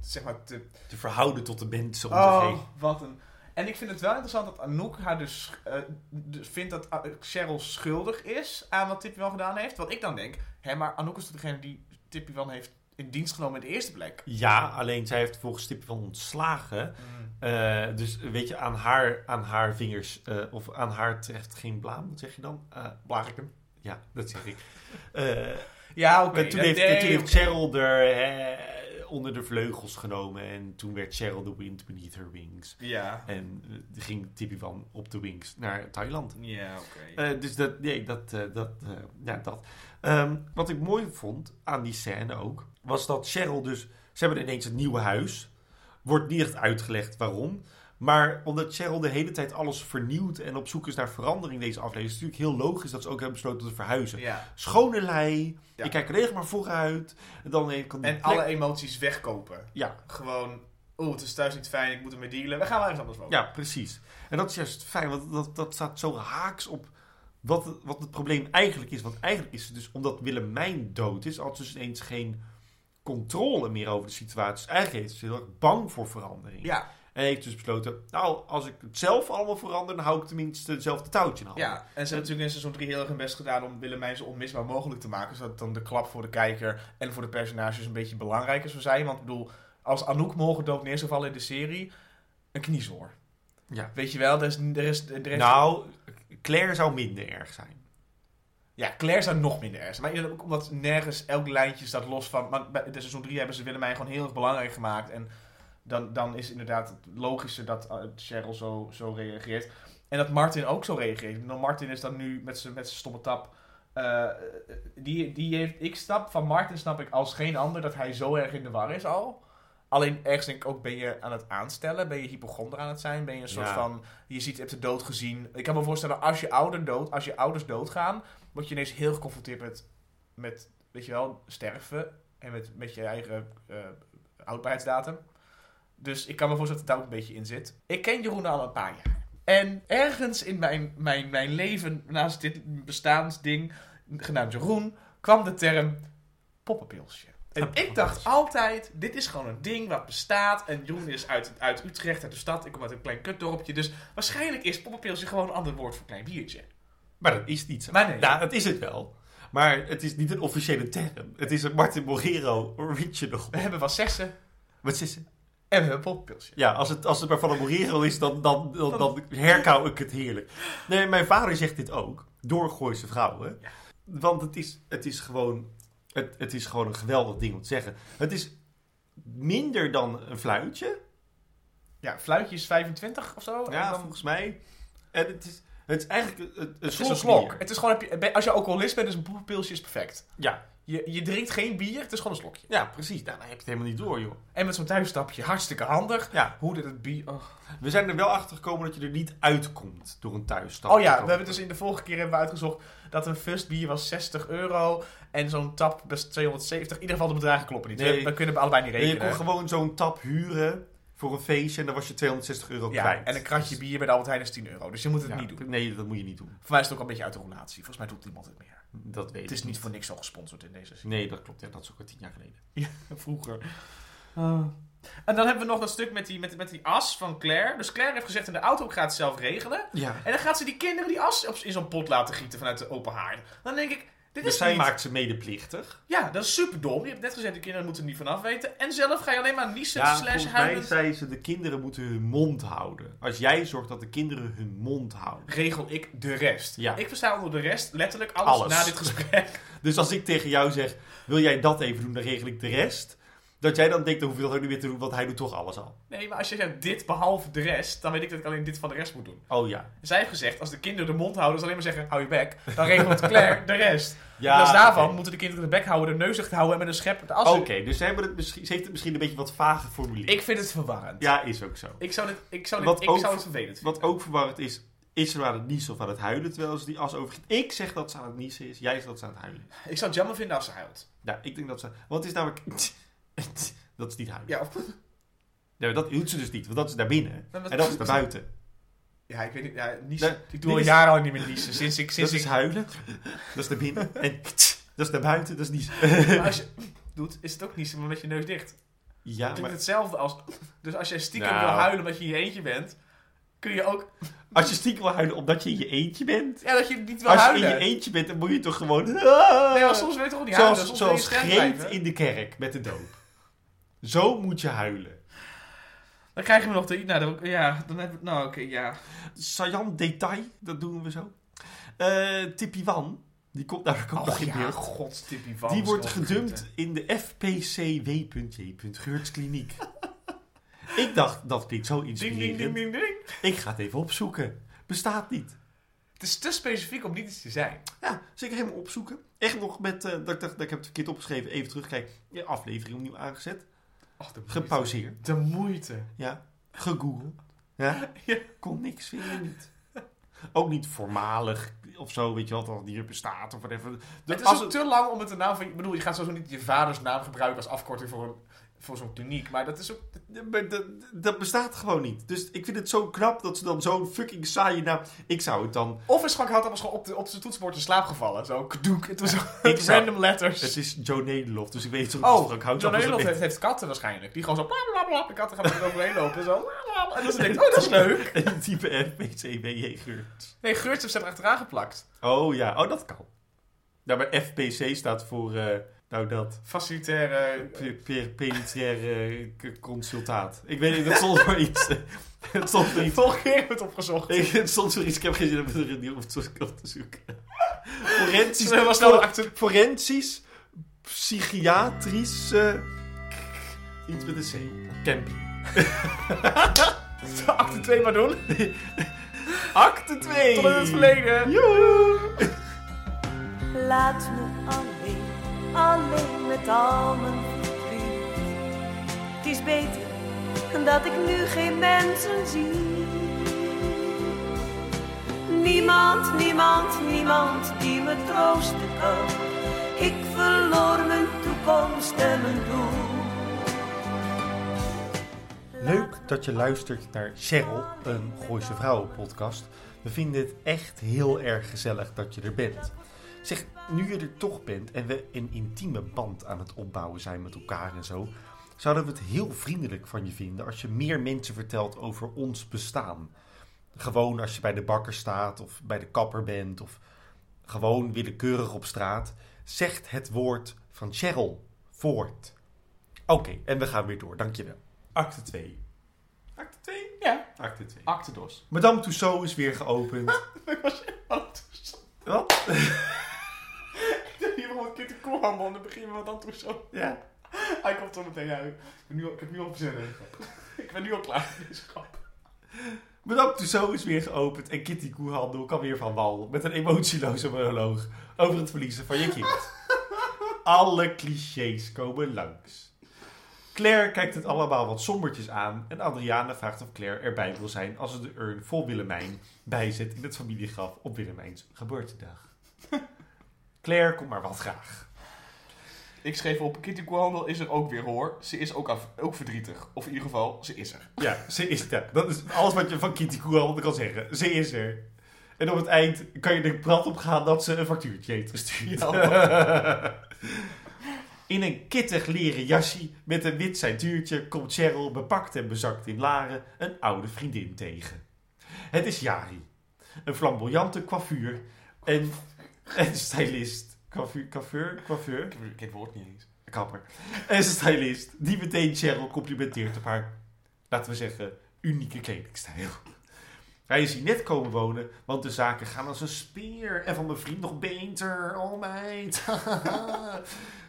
S1: zeg maar, te
S2: te verhouden tot de mensen om
S1: oh,
S2: te heen.
S1: wat een... En ik vind het wel interessant dat Anouk haar dus, eh, dus vindt dat eh, Cheryl schuldig is aan wat Tippy wel gedaan heeft. Wat ik dan denk, hè, maar Anouk is toch degene die Tippy wel heeft in dienst genomen in de eerste plek.
S2: Ja, alleen zij heeft volgens Tip van ontslagen. Eh, dus weet je, aan haar, aan haar vingers, eh, of aan haar treft geen blaam, wat zeg je dan? Eh blaar ik hem? Ja, dat zeg ik. Eh,
S1: Ja, oké.
S2: en toen
S1: dat-
S2: heeft,
S1: nee,
S2: toen heeft
S1: oké.
S2: Cheryl er eh, onder de vleugels genomen en toen werd Cheryl the wind beneath her wings.
S1: Ja,
S2: En eh, ging Tippy van op de wings naar Thailand.
S1: ja oké.
S2: Eh, dus dat, nee, dat, eh, dat, eh, ja, dat. Ehm, wat ik mooi vond aan die scène ook, was dat Cheryl dus, ze hebben ineens een nieuw huis. Wordt niet echt uitgelegd waarom. Maar omdat Cheryl de hele tijd alles vernieuwt en op zoek is naar verandering in deze aflevering, is het natuurlijk heel logisch dat ze ook hebben besloten te verhuizen.
S1: ja.
S2: Schone lei,
S1: Ja.
S2: ik kijk alleen maar vooruit. En dan eh, kan die
S1: En
S2: plek-
S1: alle emoties wegkopen.
S2: Ja,
S1: Gewoon, oeh, het is thuis niet fijn, ik moet ermee dealen. We gaan wel ergens anders wonen.
S2: ja, precies. En dat is juist fijn, want dat, dat staat zo haaks op wat, het- wat het probleem eigenlijk is. Want eigenlijk is het dus omdat Willemijn dood is, had ze dus ineens geen controle meer over de situatie. Dus eigenlijk is ze heel erg bang voor verandering.
S1: Ja,
S2: En heeft dus besloten, nou, als ik het zelf allemaal verander, dan hou ik tenminste hetzelfde touwtje in handen.
S1: ja. En ze hebben natuurlijk in seizoen 3 heel erg hun best gedaan om Willemijn zo onmisbaar mogelijk te maken. Zodat dan de klap voor de kijker en voor de personages een beetje belangrijker zou zijn. Want ik bedoel, als Anouk morgen dood neer zou vallen in de serie, een kniezoor.
S2: Ja.
S1: Weet je wel, er is... Er is, er is
S2: Nou, Claire zou minder erg zijn.
S1: Ja, Claire zou nog minder erg zijn. Maar inderdaad ook omdat nergens elk lijntje staat los van... Maar bij de seizoen 3 hebben ze Willemijn gewoon heel erg belangrijk gemaakt. En dan, dan is inderdaad het logische dat eh, Cheryl zo, zo reageert. En dat Martin ook zo reageert. Nou, Martin is dan nu met zijn met zijn stomme tap... eh, die, die heeft, ik snap van Martin snap ik als geen ander dat hij zo erg in de war is al. Alleen ergens denk ik ook, ben je aan het aanstellen? Ben je hypochonder aan het zijn? Ben je een soort
S2: Ja.
S1: van, je ziet, je hebt de dood gezien. Ik kan me voorstellen, als je, ouder dood, als je ouders doodgaan, word je ineens heel geconfronteerd met, met weet je wel, sterven en met, met je eigen eh, houdbaarheidsdatum. Dus ik kan me voorstellen dat het daar ook een beetje in zit. Ik ken Jeroen al een paar jaar. En ergens in mijn, mijn, mijn leven, naast dit bestaansding, genaamd Jeroen, kwam de term poppenpilsje. En ik dacht altijd, dit is gewoon een ding wat bestaat. En Jeroen is uit, uit Utrecht, uit de stad. Ik kom uit een klein kutdorpje. Dus waarschijnlijk is poppenpilsje gewoon een ander woord voor klein biertje.
S2: Maar dat is niet zo.
S1: Maar nee.
S2: Nou, dat is het wel. Maar het is niet een officiële term. Het is een Martin Morero original.
S1: We hebben wassessen
S2: Wat is het?
S1: en we hebben poppenpilsje.
S2: Ja, als het, als het maar van een Morero is, dan, dan, dan, dan herkauw ik het heerlijk. Nee, mijn vader zegt dit ook. Door Gooise vrouwen.
S1: Ja.
S2: Want het is, het, is gewoon, het, het is gewoon een geweldig ding om te zeggen. Het is minder dan een fluitje.
S1: Ja, fluitje is 25 of zo. Oh, en
S2: Ja,
S1: dan-
S2: volgens mij. En het is, het is eigenlijk een, een
S1: het is een
S2: slokbier.
S1: slok. Het is gewoon, heb je- als je alcoholist bent, is een poppenpilsje is perfect.
S2: Ja,
S1: Je, je drinkt geen bier, het is gewoon een slokje.
S2: ja, precies. Nou, dan heb je het helemaal niet door, joh.
S1: En met zo'n thuisstapje, hartstikke handig.
S2: Ja,
S1: Hoe dit het bier... Oh,
S2: we zijn er wel achter gekomen dat je er niet uitkomt door een thuisstap.
S1: Oh
S2: te
S1: ja, we
S2: komen.
S1: hebben dus in de vorige keer hebben we uitgezocht dat een first bier was 60 euro en zo'n tap best 270. In ieder geval de bedragen kloppen niet.
S2: Nee.
S1: We, we kunnen we allebei niet
S2: En je kon
S1: rekenen.
S2: gewoon zo'n tap huren voor een feestje en dan was je 260 euro
S1: Ja,
S2: kwijt. Dus-
S1: en een kratje bier bij de Albert Heijn is 10 euro. Dus je moet het
S2: Ja,
S1: niet doen.
S2: Nee, dat moet je niet doen.
S1: Voor mij is het ook al een beetje uit de relatie. Volgens mij doet niemand het meer.
S2: Dat weet
S1: Het
S2: ik
S1: is niet voor niks al gesponsord in deze zin.
S2: Nee, dat klopt. Ja, dat is ook al tien jaar geleden.
S1: Vroeger. Ah. En dan hebben we nog dat stuk met die, met, met die as van Claire. Dus Claire heeft gezegd in de auto, ik ga het zelf regelen.
S2: Ja.
S1: En dan gaat ze die kinderen die as op- in zo'n pot laten gieten vanuit de open haard. Dan denk ik, dit
S2: Dus
S1: is
S2: zij
S1: niet...
S2: maakt ze medeplichtig.
S1: Ja, dat is super dom. Je hebt net gezegd, de kinderen moeten er niet vanaf weten. En zelf ga je alleen maar niezen slash
S2: volgens mij
S1: huilen.
S2: zei ze, de kinderen moeten hun mond houden. Als jij zorgt dat de kinderen hun mond houden.
S1: Regel ik de rest.
S2: Ja.
S1: Ik versta onder de rest letterlijk alles,
S2: Alles.
S1: na dit gesprek.
S2: Dus als ik tegen jou zeg, wil jij dat even doen, dan regel ik de rest. Dat jij dan denkt, dan hoef je dat ook niet meer te doen, want hij doet toch alles al.
S1: Nee, maar als je zegt dit behalve de rest, dan weet ik dat ik alleen dit van de rest moet doen.
S2: Oh ja.
S1: Zij heeft gezegd, als de kinderen de mond houden, dus alleen maar zeggen, hou je bek. Dan regelt Claire de rest.
S2: ja
S1: in plaats daarvan
S2: oké.
S1: moeten de kinderen de bek houden, de neus dicht houden en met een schep de as.
S2: Oké, dus ze, hebben het misschien, ze heeft het misschien een beetje wat vaag geformuleerd.
S1: Ik vind het verwarrend.
S2: Ja, is ook zo.
S1: Ik zou dit, ik zou
S2: Wat
S1: dit, ik
S2: ook-
S1: zou het vervelend vinden.
S2: Wat ook verwarrend is, is ze aan het niezen of aan het huilen terwijl ze die as overgiet. Ik zeg dat ze aan het niezen is, jij zegt dat ze aan het huilen is.
S1: Ik zou het jammer vinden als ze huilt.
S2: Ja, ik denk dat ze... Want het is namelijk... dat is niet huilen.
S1: Ja, of-
S2: Nee, dat doet ze dus niet, want dat is naar binnen.
S1: Maar wat-
S2: En dat is naar buiten.
S1: ja ik weet niet. Ja, niezen.
S2: Nee,
S1: ik
S2: dit
S1: doe al
S2: is-
S1: jaren al niet meer niezen. Sinds ik,
S2: Dat
S1: sinds ik
S2: is huilen, dat is naar binnen. En dat is naar buiten, dat is niezen.
S1: Maar als je doet, is het ook niezen, maar met je neus dicht. Het
S2: Ja,
S1: klinkt
S2: maar
S1: hetzelfde als... Dus als jij stiekem
S2: Nou.
S1: wil huilen omdat je in je eentje bent, kun je ook...
S2: als je stiekem wil huilen omdat je in je eentje bent...
S1: Ja, dat je niet wil
S2: Als je in
S1: huilen.
S2: je eentje bent, dan moet je toch gewoon...
S1: Nee, maar soms wil je toch niet huilen.
S2: Zoals,
S1: soms
S2: zoals
S1: wil je scherp
S2: Greet
S1: blijven.
S2: in de kerk met de doop. Zo moet je huilen.
S1: Dan krijgen we nog de... Nou, dan, ja, dan hebben we... Nou, oké, ja.
S2: Sajan detail, dat doen we zo. Eh Tippy Wan, die komt namelijk ook nog in
S1: ja,
S2: beeld.
S1: godstippie van.
S2: Die wordt
S1: is
S2: gedumpt
S1: opgegeten.
S2: in de FPCW.J.Geurtskliniek. Ik dacht, dat klinkt zo
S1: Ding, ding, ding,
S2: inspirerend.
S1: ding, ding.
S2: Ik ga het even opzoeken. Bestaat niet.
S1: Het is te specifiek om niet iets te zijn.
S2: Ja, dus ik ga helemaal opzoeken. Echt nog met, eh, dat ik dacht, dat ik heb het verkeerd opgeschreven. Even terugkijken. Ja, aflevering opnieuw aangezet.
S1: Ach, de moeite.
S2: Gepauzeerd.
S1: De moeite.
S2: Ja. Gegoogeld. Ja.
S1: Ja.
S2: Kon niks vinden, niet. Ook niet voormalig of zo, weet je wat, dat het hier bestaat of whatever. De,
S1: het is
S2: als
S1: ook
S2: het-
S1: te lang om het de naam van... Ik bedoel, je gaat sowieso niet je vaders naam gebruiken als afkorting voor, een- voor zo'n kliniek. Maar dat is ook...
S2: Ja, maar dat, dat bestaat gewoon niet. Dus ik vind het zo knap dat ze dan zo'n fucking saaie naam... Ik zou het dan...
S1: Of is Frank Houtkamp gewoon op, de, op zijn toetsenbord in slaap gevallen. Zo, kdoek. Het was
S2: ik
S1: ik
S2: zou-
S1: random letters.
S2: Het is Joe Nederlof, dus ik weet niet
S1: oh,
S2: of Frank
S1: John
S2: Houtkamp is
S1: Nederland
S2: of
S1: heeft,
S2: niet.
S1: heeft katten waarschijnlijk. Die gewoon zo bla bla bla. De katten gaan er overheen lopen. Zo bla bla, bla. En dan ze denkt, oh dat is leuk.
S2: Een type FPCBJ-geur.
S1: Nee, Geurts heeft ze erachteraan geplakt.
S2: Oh ja, oh dat kan. Nou, maar FPC staat voor... eh, nou dat...
S1: Facilitaire... eh,
S2: Pe- pe- Penitentiair eh, k- consultaat. Ik weet niet, dat stond voor iets. Het stond voor iets.
S1: Volgende keer hebben we het opgezocht.
S2: Ik, het stond voor iets. Ik heb geen zin om het er nieuw op te op te zoeken. Forensisch.
S1: Zullen we wel snel
S2: fo-
S1: nou de acte-
S2: Forensisch. Psychiatrisch. eh, iets met een C. Camping.
S1: de acte 2 maar doen.
S2: Acte 2.
S1: Tot in het verleden.
S2: Joehoe.
S4: Laat me alleen, alleen met al mijn verdriet. Het is beter dat ik nu geen mensen zie. Niemand, niemand, niemand die me troosten kan. Ik verloor mijn toekomst en mijn doel.
S2: Leuk dat je luistert naar Cheryl, een Gooise Vrouwen podcast. We vinden het echt heel erg gezellig dat je er bent. Zeg, nu je er toch bent en we een intieme band aan het opbouwen zijn met elkaar en zo, zouden we het heel vriendelijk van je vinden als je meer mensen vertelt over ons bestaan. Gewoon als je bij de bakker staat of bij de kapper bent of gewoon willekeurig op straat, zegt het woord van Cheryl voort. Oké, en we gaan weer door, dankjewel. Acte 2.
S1: Acte 2? Ja.
S2: Acte 2.
S1: Acte dos.
S2: Madame Tussaud is weer geopend.
S1: Ik was helemaal enthousiast.
S2: Wat?
S1: Ik heb hier wel een keer te kom aan, man. Dan begin we dan toen zo.
S2: Ja.
S1: Hij komt er meteen uit. Ik heb nu al, ik heb nu al zin in. Ik ben nu al klaar voor deze grap.
S2: Madame Tussaud is weer geopend en Kitty Koehandel kan weer van wal met een emotieloze monoloog over het verliezen van je kind. Alle clichés komen langs. Claire kijkt het allemaal wat sombertjes aan en Adriana vraagt of Claire erbij wil zijn als ze de urn vol Willemijn bijzet in het familiegraf op Willemijns geboortedag. Claire komt maar wat graag.
S1: Ik schreef op, Kitty Koehandel is er ook weer hoor. Ze is ook, af, ook verdrietig. Of in ieder geval, ze is er.
S2: Ja, ze is er. Dat is alles wat je van Kitty Koehandel kan zeggen. Ze is er. En op het eind kan je er prat op gaan dat ze een factuurtje heeft gestuurd. In een kittig leren jasje met een wit ceintuurtje komt Cheryl bepakt en bezakt in Laren een oude vriendin tegen. Het is Jari, een flamboyante coiffure en, en stylist. Coiffure, coiffeur, coiffeur,
S1: Ik heb, ik heb het woord niet eens.
S2: kapper. En stylist die meteen Cheryl complimenteert op haar, laten we zeggen, unieke kledingstijl. Hij is hier net komen wonen, want de zaken gaan als een speer. En van mijn vriend nog beter. Oh meid.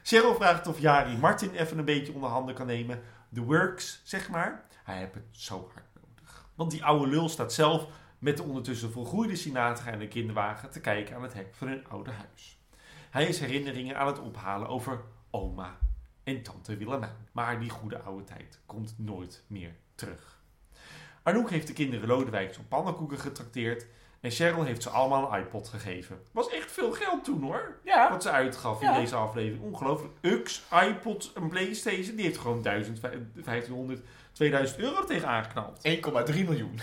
S2: Cheryl vraagt of Jari Martin even een beetje onder handen kan nemen. De works, zeg maar. Hij heeft het zo hard nodig. Want die oude lul staat zelf met de ondertussen volgroeide Sinatra en een kinderwagen te kijken aan het hek van hun oude huis. Hij is herinneringen aan het ophalen over oma en tante Willemijn. Maar die goede oude tijd komt nooit meer terug. Anouk heeft de kinderen Lodewijks op pannenkoeken getrakteerd. En Cheryl heeft ze allemaal een iPod gegeven. Was echt veel geld toen hoor.
S1: Ja.
S2: Wat ze uitgaf in
S1: Ja.
S2: deze aflevering. Ongelooflijk. Ux, iPod, een Playstation. Die heeft gewoon 1000, 1500, 2000 euro tegen aangeknald.
S1: 1,3 miljoen.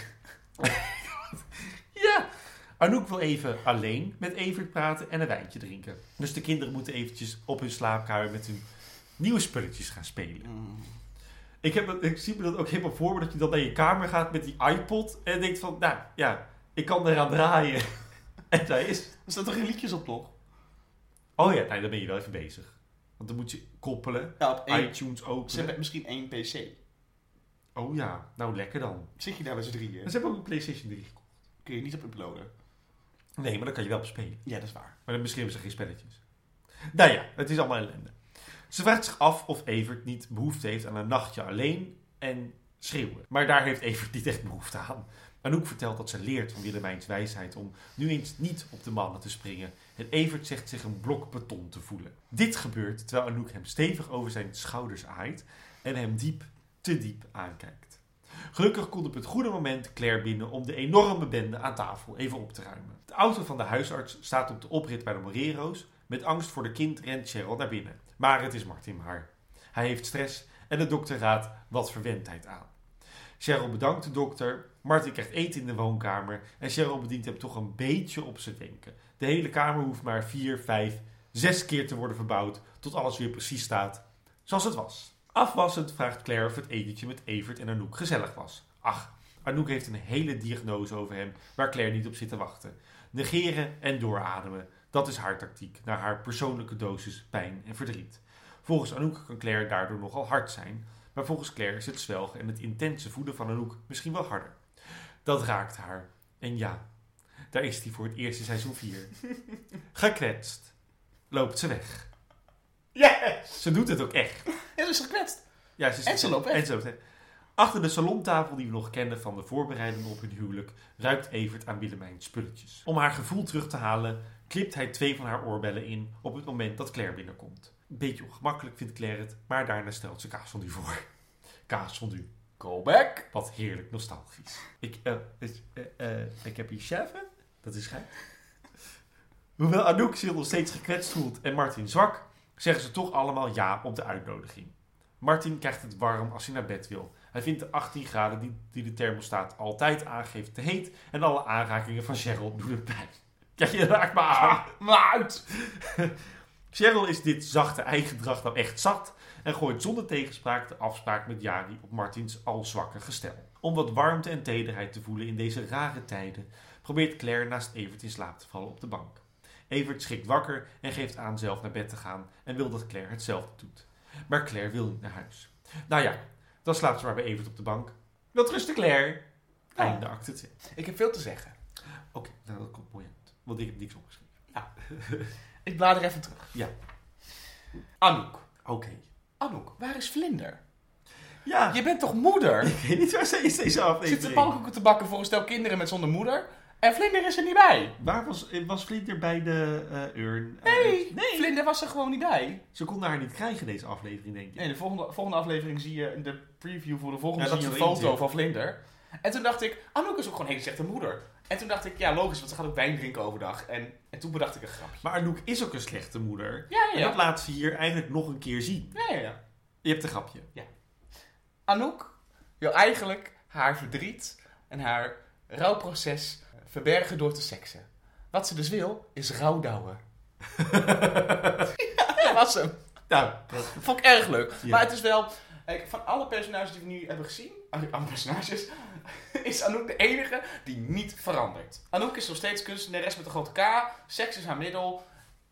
S2: Ja. Anouk wil even alleen met Evert praten en een wijntje drinken. Dus de kinderen moeten eventjes op hun slaapkamer met hun nieuwe spulletjes gaan spelen.
S1: Mm.
S2: Ik, heb, dat- ik zie me dat ook helemaal voor me dat je dan naar je kamer gaat met die iPod. En denkt van, nou ja, ik kan eraan draaien. en daar is
S1: Er staat toch geen liedjes op, toch?
S2: Oh ja, nee, dan ben je wel even bezig. Want dan moet je koppelen,
S1: Ah, Ja, op één.
S2: iTunes
S1: Ze
S2: openen.
S1: hebben misschien één PC.
S2: Oh ja, nou lekker dan.
S1: Zit je daar met z'n drieën?
S2: En ze hebben ook een PlayStation 3 gekocht.
S1: Kun je niet op uploaden.
S2: Nee, maar dan kan je wel op spelen.
S1: Ja, dat is waar.
S2: Maar dan misschien hebben ze geen spelletjes. Nou ja, het is allemaal ellende. Ze vraagt zich af of Evert niet behoefte heeft aan een nachtje alleen en schreeuwen. Maar daar heeft Evert niet echt behoefte aan. Anouk vertelt dat ze leert van Willemijns wijsheid om nu eens niet op de mannen te springen. En Evert zegt zich een blok beton te voelen. Dit gebeurt terwijl Anouk hem stevig over zijn schouders aait en hem diep, te diep aankijkt. Gelukkig komt op het goede moment Claire binnen om de enorme bende aan tafel even op te ruimen. De auto van de huisarts staat op de oprit bij de Morero's. Met angst voor de kind rent Cheryl naar binnen. Maar het is Martin maar. Hij heeft stress en de dokter raadt wat verwendheid aan. Cheryl bedankt de dokter. Martin krijgt eten in de woonkamer. En Cheryl bedient hem toch een beetje op zijn denken. De hele kamer hoeft maar vier, vijf, zes keer te worden verbouwd. Tot alles weer precies staat zoals het was. Afwassend vraagt Claire of het etentje met Evert en Anouk gezellig was. Ach, Anouk heeft een hele diagnose over hem waar Claire niet op zit te wachten. Negeren en doorademen, dat is haar tactiek, naar haar persoonlijke dosis pijn en verdriet. Volgens Anouk kan Claire daardoor nogal hard zijn, maar volgens Claire is het zwelgen en het intense voeden van Anouk misschien wel harder. Dat raakt haar. En ja, daar is hij voor het eerste seizoen 4. Gekletst. Loopt ze weg.
S1: Yes!
S2: Ze doet het ook echt.
S1: Ja, ze is gekletst.
S2: Ja, ze is
S1: En ze loopt weg.
S2: en ze loopt weg. Achter de salontafel die we nog kennen van de voorbereidingen op hun huwelijk, ruikt Evert aan Willemijn's spulletjes. Om haar gevoel terug te halen, klipt hij twee van haar oorbellen in op het moment dat Claire binnenkomt. Een beetje ongemakkelijk vindt Claire het, maar daarna stelt ze kaasfondue voor. Kaasfondue,
S1: Go back.
S2: wat heerlijk nostalgisch. Ik, eh, is- eh, eh, ik heb hier cheffen, dat is gek. Hoewel Anouk zich nog steeds gekwetst voelt en Martin zwak, zeggen ze toch allemaal ja op de uitnodiging. Martin krijgt het warm als hij naar bed wil. Hij vindt de 18 graden die, die de thermostaat altijd aangeeft te heet en alle aanrakingen van Cheryl doen het pijn. Ja, je raakt me aan. Ah, Maar uit. Cheryl is dit zachte eigendrag dan echt zat en gooit zonder tegenspraak de afspraak met Jari op Martins al zwakke gestel. Om wat warmte en tederheid te voelen in deze rare tijden, probeert Claire naast Evert in slaap te vallen op de bank. Evert schrikt wakker en geeft aan zelf naar bed te gaan en wil dat Claire hetzelfde doet. Maar Claire wil niet naar huis. Nou ja, dan slaapt ze maar bij Evert op de bank. Dat rusten Claire. Einde acte 2.
S1: Ik heb veel te zeggen.
S2: Oké, nou dat komt mooi uit. Want ik heb niks opgeschreven.
S1: Ik blader even terug.
S2: Anouk. Oké.
S1: Anouk, waar is Vlinder?
S2: Ja,
S1: Je bent toch moeder?
S2: Ah. ik weet niet waar ze is deze aflevering.
S1: Zit de pannenkoeken te bakken voor een stel kinderen met zonder moeder? En Vlinder is er niet bij.
S2: Waar was, eh, was Vlinder bij de eh, urn? Eh,
S1: Nee, Vlinder was er gewoon niet bij.
S2: ze konden haar niet krijgen deze aflevering, denk ik.
S1: Nee, de volgende, volgende aflevering zie je, in de preview voor de volgende,
S2: Ja,
S1: zie
S2: dat
S1: je een
S2: ze erin
S1: foto
S2: zit.
S1: van Vlinder. En toen dacht ik, Anouk is ook gewoon een hele slechte moeder. En toen dacht ik, ja logisch, want ze gaat ook wijn drinken overdag. En, en toen bedacht ik een grapje.
S2: Maar Anouk is ook een slechte moeder.
S1: Ja, ja,
S2: En dat
S1: ja.
S2: laat ze hier eigenlijk nog een keer zien.
S1: ja, ja, ja.
S2: Je hebt een grapje.
S1: Anouk wil eigenlijk haar verdriet en haar rouwproces verbergen door te seksen. Wat ze dus wil, is rouwdouwen. ja, dat was hem.
S2: Nou,
S1: Vond ik erg leuk.
S2: Ja.
S1: Maar het is wel... kijk, Van alle personages die we nu hebben gezien... alle- Alle personages... Is Anouk de enige die niet verandert. Anouk is nog steeds kunstenares met een grote K. Seks is haar middel.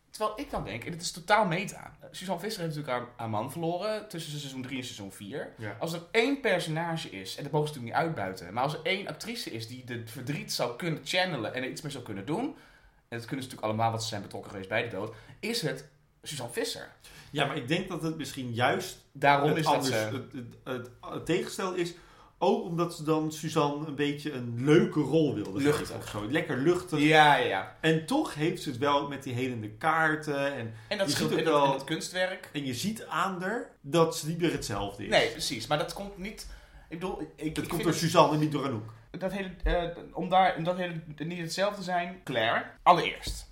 S1: Terwijl ik dan denk, en het is totaal meta. Suzanne Visser heeft natuurlijk haar, haar man verloren. Tussen seizoen 3 en seizoen 4.
S2: Ja.
S1: Als er één personage is, en dat mogen ze natuurlijk niet uitbuiten. Maar als er één actrice is die de verdriet zou kunnen channelen en er iets mee zou kunnen doen. En dat kunnen ze natuurlijk allemaal, want ze zijn betrokken geweest bij de dood. Is het Suzanne Visser.
S2: ja, maar ik denk dat het misschien juist
S1: Daarom
S2: het,
S1: is
S2: anders,
S1: dat ze...
S2: het, het, het- het tegenstel is. Ook omdat ze dan Suzanne een beetje een leuke rol wilde
S1: Luchtig.
S2: geven. Of zo. Lekker luchtig.
S1: Ja, ja, ja.
S2: En toch heeft ze het wel met die helende kaarten. En,
S1: En dat,
S2: Je
S1: schiet
S2: ziet
S1: en
S2: ook
S1: dat,
S2: wel-
S1: en dat kunstwerk.
S2: en je ziet aan haar dat ze niet meer hetzelfde is.
S1: Nee, precies. Maar dat komt niet... Ik bedoel, ik, ik
S2: Dat
S1: vind
S2: komt door Suzanne en niet door Anouk.
S1: dat hele, eh, om daar om dat hele, niet hetzelfde te zijn, Claire. Allereerst.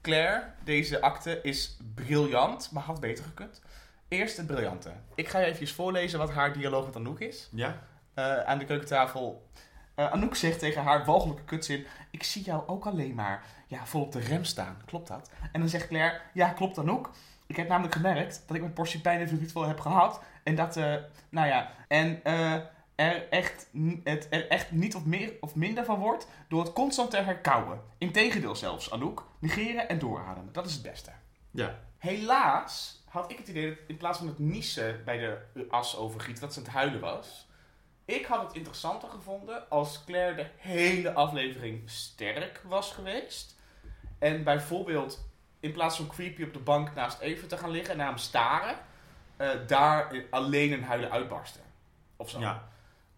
S1: Claire, deze acte is briljant, maar had beter gekund. Eerst het briljante. Ik ga je even voorlezen wat haar dialoog met Anouk is.
S2: Ja?
S1: Eh, aan de keukentafel. Eh, Anouk zegt tegen haar walgelijke kutzin: Ik zie jou ook alleen maar ja, vol op de rem staan. Klopt dat? En dan zegt Claire: Ja, klopt Anouk. Ik heb namelijk gemerkt dat ik mijn portie pijn en verdriet wel heb gehad. En dat, eh, nou ja, en eh, er, echt, n- het er echt niet of, meer, of minder van wordt door het constant te herkauwen. Integendeel zelfs, Anouk. Negeren en doorademen. Dat is het beste.
S2: Ja.
S1: Helaas had ik het idee dat in plaats van het niezen bij de as overgiet, dat ze aan het huilen was. Ik had het interessanter gevonden als Claire de hele aflevering sterk was geweest. En bijvoorbeeld in plaats van creepy op de bank naast Even te gaan liggen en naar hem staren, eh, daar alleen een huilen uitbarsten. Of zo.
S2: ja.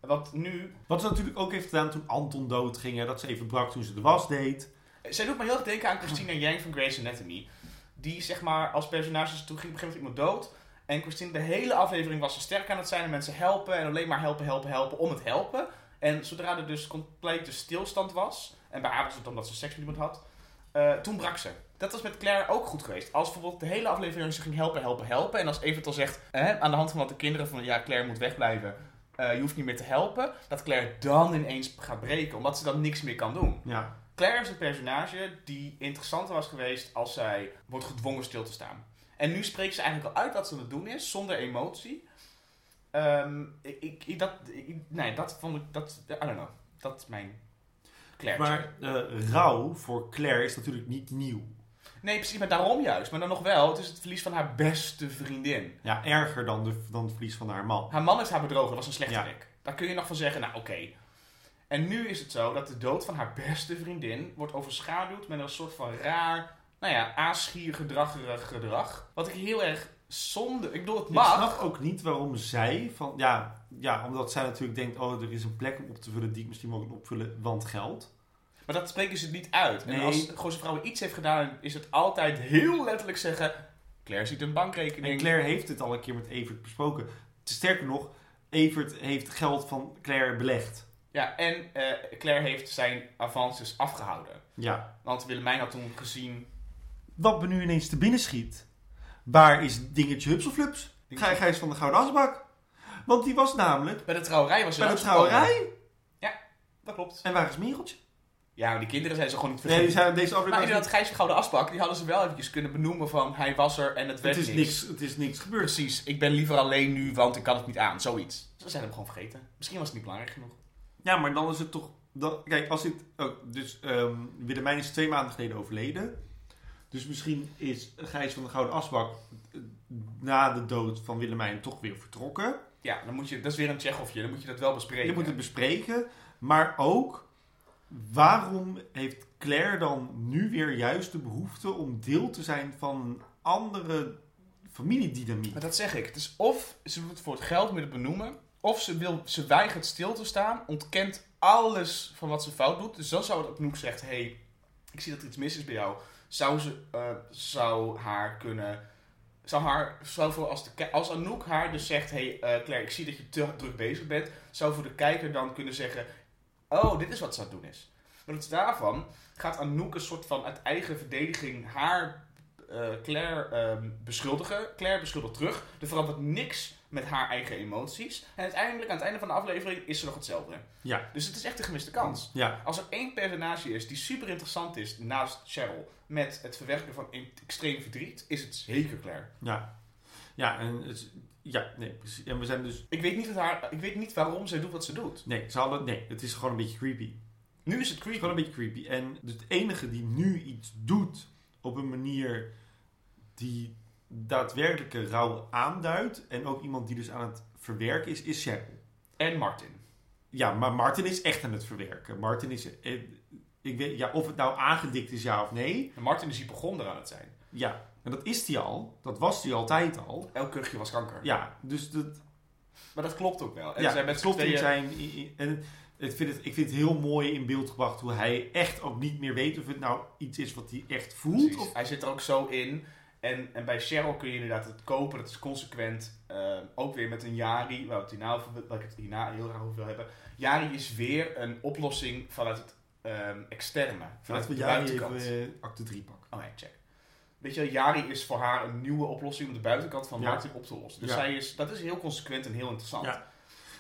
S1: Want nu,
S2: Wat ze natuurlijk ook heeft gedaan toen Anton dood ging. Hè, dat ze even brak toen ze de was deed.
S1: Zij doet me heel erg denken aan Christina Yang van Grey's Anatomy. Die zeg maar als personage, toen ging op een gegeven moment iemand dood. En Christine de hele aflevering was ze sterk aan het zijn en mensen helpen. En alleen maar helpen, helpen, helpen om het helpen. En zodra er dus complete stilstand was. En bij haar was het omdat ze seks met iemand had. eh, toen brak ze. Dat was met Claire ook goed geweest. Als bijvoorbeeld de hele aflevering ze ging helpen, helpen, helpen. En als Evert al zegt, hè, aan de hand van wat de kinderen van, ja, Claire moet wegblijven. eh, je hoeft niet meer te helpen. Dat Claire dan ineens gaat breken, omdat ze dan niks meer kan doen.
S2: Ja.
S1: Claire is een personage die interessanter was geweest als zij wordt gedwongen stil te staan. En nu spreekt ze eigenlijk al uit wat ze aan het doen is, zonder emotie. Ehm, ik, ik, dat, ik- nee, dat vond ik, dat, I don't know. Dat is mijn Claire.
S2: Maar eh rouw voor Claire is natuurlijk niet nieuw.
S1: Nee, precies, maar daarom juist. Maar dan nog wel, het is het verlies van haar beste vriendin.
S2: Ja, erger dan, de, dan het verlies van haar man.
S1: Haar man heeft haar bedrogen, dat was een slechterik. Daar kun je nog van zeggen, nou oké. En nu is het zo dat de dood van haar beste vriendin wordt overschaduwd met een soort van raar, nou ja, aasgier gedraggerig gedrag. Wat ik heel erg zonde, ik bedoel het
S2: Ik
S1: mag.
S2: snap ook niet waarom zij van... Ja, ja, omdat zij natuurlijk denkt... Oh, er is een plek om op te vullen die ik misschien wel kan opvullen. Want geld.
S1: Maar dat spreken ze niet uit. En
S2: Nee.
S1: als Goze Vrouwen iets heeft gedaan, is het altijd heel letterlijk zeggen... Claire ziet een
S2: En
S1: bankrekening.
S2: Claire heeft dit al een keer met Evert besproken. Sterker nog, Evert heeft geld van Claire belegd.
S1: Ja, en eh, Claire heeft zijn avances afgehouden.
S2: Ja.
S1: Want Willemijn had toen gezien...
S2: wat me nu ineens te binnen schiet. Waar is dingetje Hups of Flups? Gij- Gijs van de Gouden Asbak. Want die was namelijk
S1: Bij de trouwerij was ze
S2: bij de
S1: langsgekomen.
S2: trouwerij.
S1: Dat klopt.
S2: En waar is Mereltje?
S1: Ja, maar die kinderen zijn ze gewoon niet
S2: Nee,
S1: vergeten.
S2: die zijn, deze
S1: Maar
S2: aflevering was
S1: inderdaad, Gijs van Gouden Asbak, die hadden ze wel eventjes kunnen benoemen van hij was er en het
S2: niet-
S1: werd
S2: het, is niks, het is niks gebeurd.
S1: Precies, ik ben liever alleen nu, want ik kan het niet aan. Zoiets. Ze zijn hem gewoon vergeten. Misschien was het niet belangrijk genoeg.
S2: Ja, maar dan is het toch. Dan, kijk, als dit. oh, dus ehm Willemijn is twee maanden geleden overleden. Dus misschien is Gijs van de Gouden Asbak eh, na de dood van Willemijn toch weer vertrokken.
S1: Ja, dan moet je, dat is weer een Tsjechofje, dan moet je dat wel bespreken.
S2: Je moet het bespreken. Maar ook, waarom heeft Claire dan nu weer juist de behoefte om deel te zijn van een andere familiedynamiek?
S1: Maar dat zeg ik. Het is of ze doet het voor het geld met het benoemen, of ze, wil, ze weigert stil te staan, ontkent alles van wat ze fout doet. Dus dan zou het opnieuw zegt, hey, ik zie dat er iets mis is bij jou. Zou ze, eh, zou haar kunnen, zou haar, zou voor als, de, ki- als Anouk haar dus zegt, hey eh, Claire, ik zie dat je te druk bezig bent, zou voor de kijker dan kunnen zeggen, oh, dit is wat ze aan het doen is. Maar het daarvan gaat Anouk een soort van uit eigen verdediging haar eh, Claire ehm, beschuldigen. Claire beschuldigt terug. Er verandert niks met haar eigen emoties. En uiteindelijk, aan het einde van de aflevering, is ze nog hetzelfde.
S2: Ja.
S1: Dus het is echt een gemiste kans.
S2: Ja.
S1: Als er één personage is die super interessant is naast Cheryl met het verwerken van in- extreem verdriet, is het zeker Claire.
S2: Ja. Ja, en het, is- ja, nee, precies. En we zijn dus.
S1: Ik weet niet, wat haar, ik weet niet waarom zij doet wat ze doet.
S2: Nee, ze hadden, nee, het is gewoon een beetje creepy.
S1: Nu is het
S2: is
S1: creepy.
S2: gewoon een beetje creepy. En dus het enige die nu iets doet op een manier die daadwerkelijke rouw aanduidt. En ook iemand die dus aan het verwerken is, is Cheryl.
S1: En Martin.
S2: Ja, maar Martin is echt aan het verwerken. Martin is. eh, Ik weet, ja, of het nou aangedikt is, ja of nee.
S1: En Martin is hypochonder aan het zijn.
S2: Ja, en dat is hij al. Dat was hij altijd al.
S1: Elk kuchje was kanker.
S2: Ja, dus dat
S1: Maar dat klopt ook wel. En
S2: ja,
S1: zij met
S2: het
S1: z'n
S2: klopt
S1: tweeën-
S2: niet zijn. i- i- En ik vind, het, ik vind het heel mooi in beeld gebracht hoe hij echt ook niet meer weet of het nou iets is wat hij echt voelt.
S1: Precies.
S2: Of
S1: Hij zit er ook zo in. En, en bij Cheryl kun je inderdaad het kopen. Dat is consequent. eh, ook weer met een Yari. Waar, we het hierna over, waar ik het hierna heel graag over wil hebben. Yari is weer een oplossing vanuit het ehm, externe. Vanuit
S2: Laten
S1: de
S2: we Jari
S1: buitenkant.
S2: even eh, acte 3 pakken.
S1: Oh nee, check. Weet je, Yari is voor haar een nieuwe oplossing om de buitenkant van
S2: Ja.
S1: Martin op te lossen. Dus
S2: Ja.
S1: zij is, dat is heel consequent en heel interessant.
S2: Ja.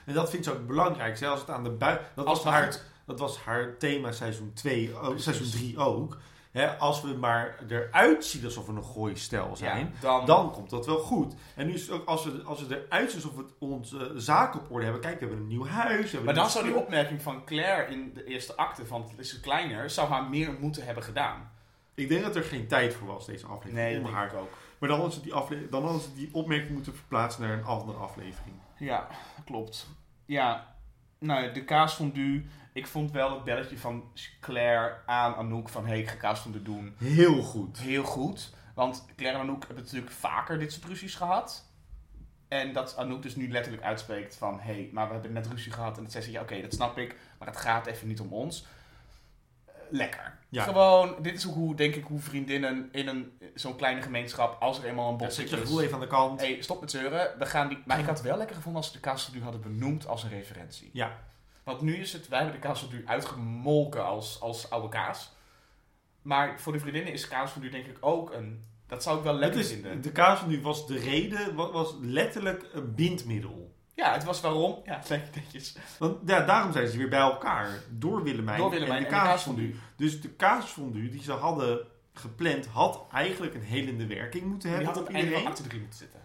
S2: En dat vindt ze ook belangrijk. Zelfs het aan de buitenkant. Dat,
S1: Als
S2: was
S1: het maar
S2: haar- dat was haar thema seizoen 2, oh, seizoen 3 ook. Hè, als we maar eruit zien alsof we een gooi stijl zijn,
S1: Ja, dan,
S2: dan komt dat wel goed. En nu is het ook als we, als we eruit zien alsof we onze eh, zaken op orde hebben. Kijk, we hebben een nieuw huis. We
S1: maar
S2: hebben een
S1: dan
S2: nieuw
S1: zou die
S2: spul.
S1: opmerking van Claire in de eerste acte van het is kleiner, zou haar meer moeten hebben gedaan.
S2: Ik denk dat er geen tijd voor was, deze aflevering.
S1: Nee,
S2: om
S1: dat denk
S2: haar.
S1: ik ook.
S2: Maar dan hadden, ze die afle- dan hadden ze die opmerking moeten verplaatsen naar een andere aflevering.
S1: Ja, klopt. Ja, nou, de kaasfondue. Ik vond wel het belletje van Claire aan Anouk van... hey, ik ga kaasfondue doen.
S2: Heel goed.
S1: Heel goed. Want Claire en Anouk hebben natuurlijk vaker dit soort ruzies gehad. En dat Anouk dus nu letterlijk uitspreekt van... hey, maar we hebben net ruzie gehad. En dat zij zegt, ja, oké, dat snap ik. Maar het gaat even niet om ons. Eh, Lekker.
S2: Ja.
S1: Gewoon, dit is hoe, denk ik, hoe vriendinnen in een, zo'n kleine gemeenschap... als er eenmaal een
S2: Ja, zet
S1: botsing
S2: je
S1: is...
S2: gevoel even aan de kant.
S1: Hey, stop met zeuren. We gaan die... Maar ik had het wel lekker gevonden als ze de kaasfondue hadden benoemd als een referentie.
S2: Ja.
S1: Want nu is het, wij hebben de kaasfondue uitgemolken als, als oude kaas. Maar voor de vriendinnen is kaasfondue denk ik ook een... Dat zou ik wel
S2: Het
S1: lekker
S2: is,
S1: vinden.
S2: de kaas van nu was de reden, wa- was letterlijk een bindmiddel.
S1: Ja, het was waarom. Ja, zeg netjes.
S2: Want ja, daarom zijn ze weer bij elkaar. Door Willemijn,
S1: Door Willemijn
S2: en de
S1: en de
S2: kaasfondue. Dus de kaasfondue die ze hadden gepland, had eigenlijk een helende werking moeten
S1: Je
S2: hebben
S1: had op
S2: op
S1: het einde van
S2: iedereen.
S1: acte 3 moeten zitten.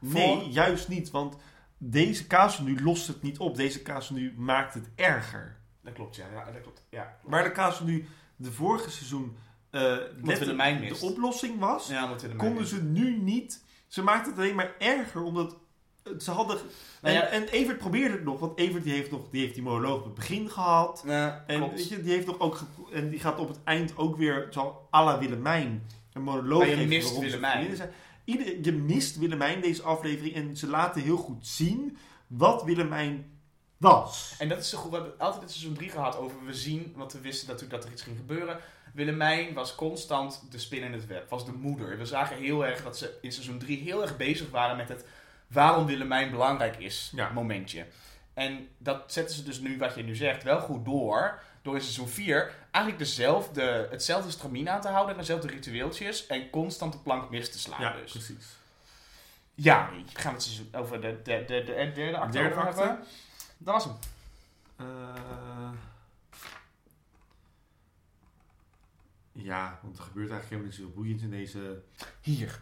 S2: Nee,
S1: voor-
S2: juist niet. Want deze kaasfondue lost het niet op. Deze kaasfondue maakt het erger.
S1: Dat klopt, ja. ja dat klopt. Ja,
S2: Waar de kaasfondue de vorige seizoen eh,
S1: Omdat
S2: letterlijk
S1: Willemijn
S2: de
S1: mist.
S2: oplossing was...
S1: Ja, omdat Willemijn
S2: konden
S1: mist.
S2: ze nu niet. Ze maakten het alleen maar erger, omdat het- ze hadden. En,
S1: Nou ja.
S2: en Evert probeerde het nog, want Evert die heeft, nog, die, heeft die monoloog op het begin gehad.
S1: Ja,
S2: En,
S1: eh, klopt.
S2: weet je, die heeft nog ook gepro- en die gaat op het eind ook weer, zo à la Willemijn, een monoloog
S1: Maar je
S2: geven
S1: mist
S2: waarom ze
S1: Willemijn.
S2: vriendinnen zijn. Ieder, je mist Willemijn deze aflevering en ze laten heel goed zien wat Willemijn was.
S1: En dat is zo goed. We hebben altijd in seizoen 3 gehad over we zien, want we wisten natuurlijk dat er iets ging gebeuren. Willemijn was constant de spin in het web, was de moeder. We zagen heel erg dat ze in seizoen 3 heel erg bezig waren met het waarom Willemijn belangrijk is
S2: Ja.
S1: momentje. En dat zetten ze dus nu, wat je nu zegt, wel goed door. Door in seizoen 4 eigenlijk dezelfde, hetzelfde stramien aan te houden en dezelfde ritueeltjes. En constant de plank mis te slaan.
S2: ja,
S1: dus.
S2: precies.
S1: ja gaan we het seizoen over de, de, de, de derde acte
S2: Derde
S1: over
S2: acte.
S1: hebben. Dat was hem.
S2: Eh, Ja, want er gebeurt eigenlijk helemaal niet zoveel boeiends in deze...
S1: Hier.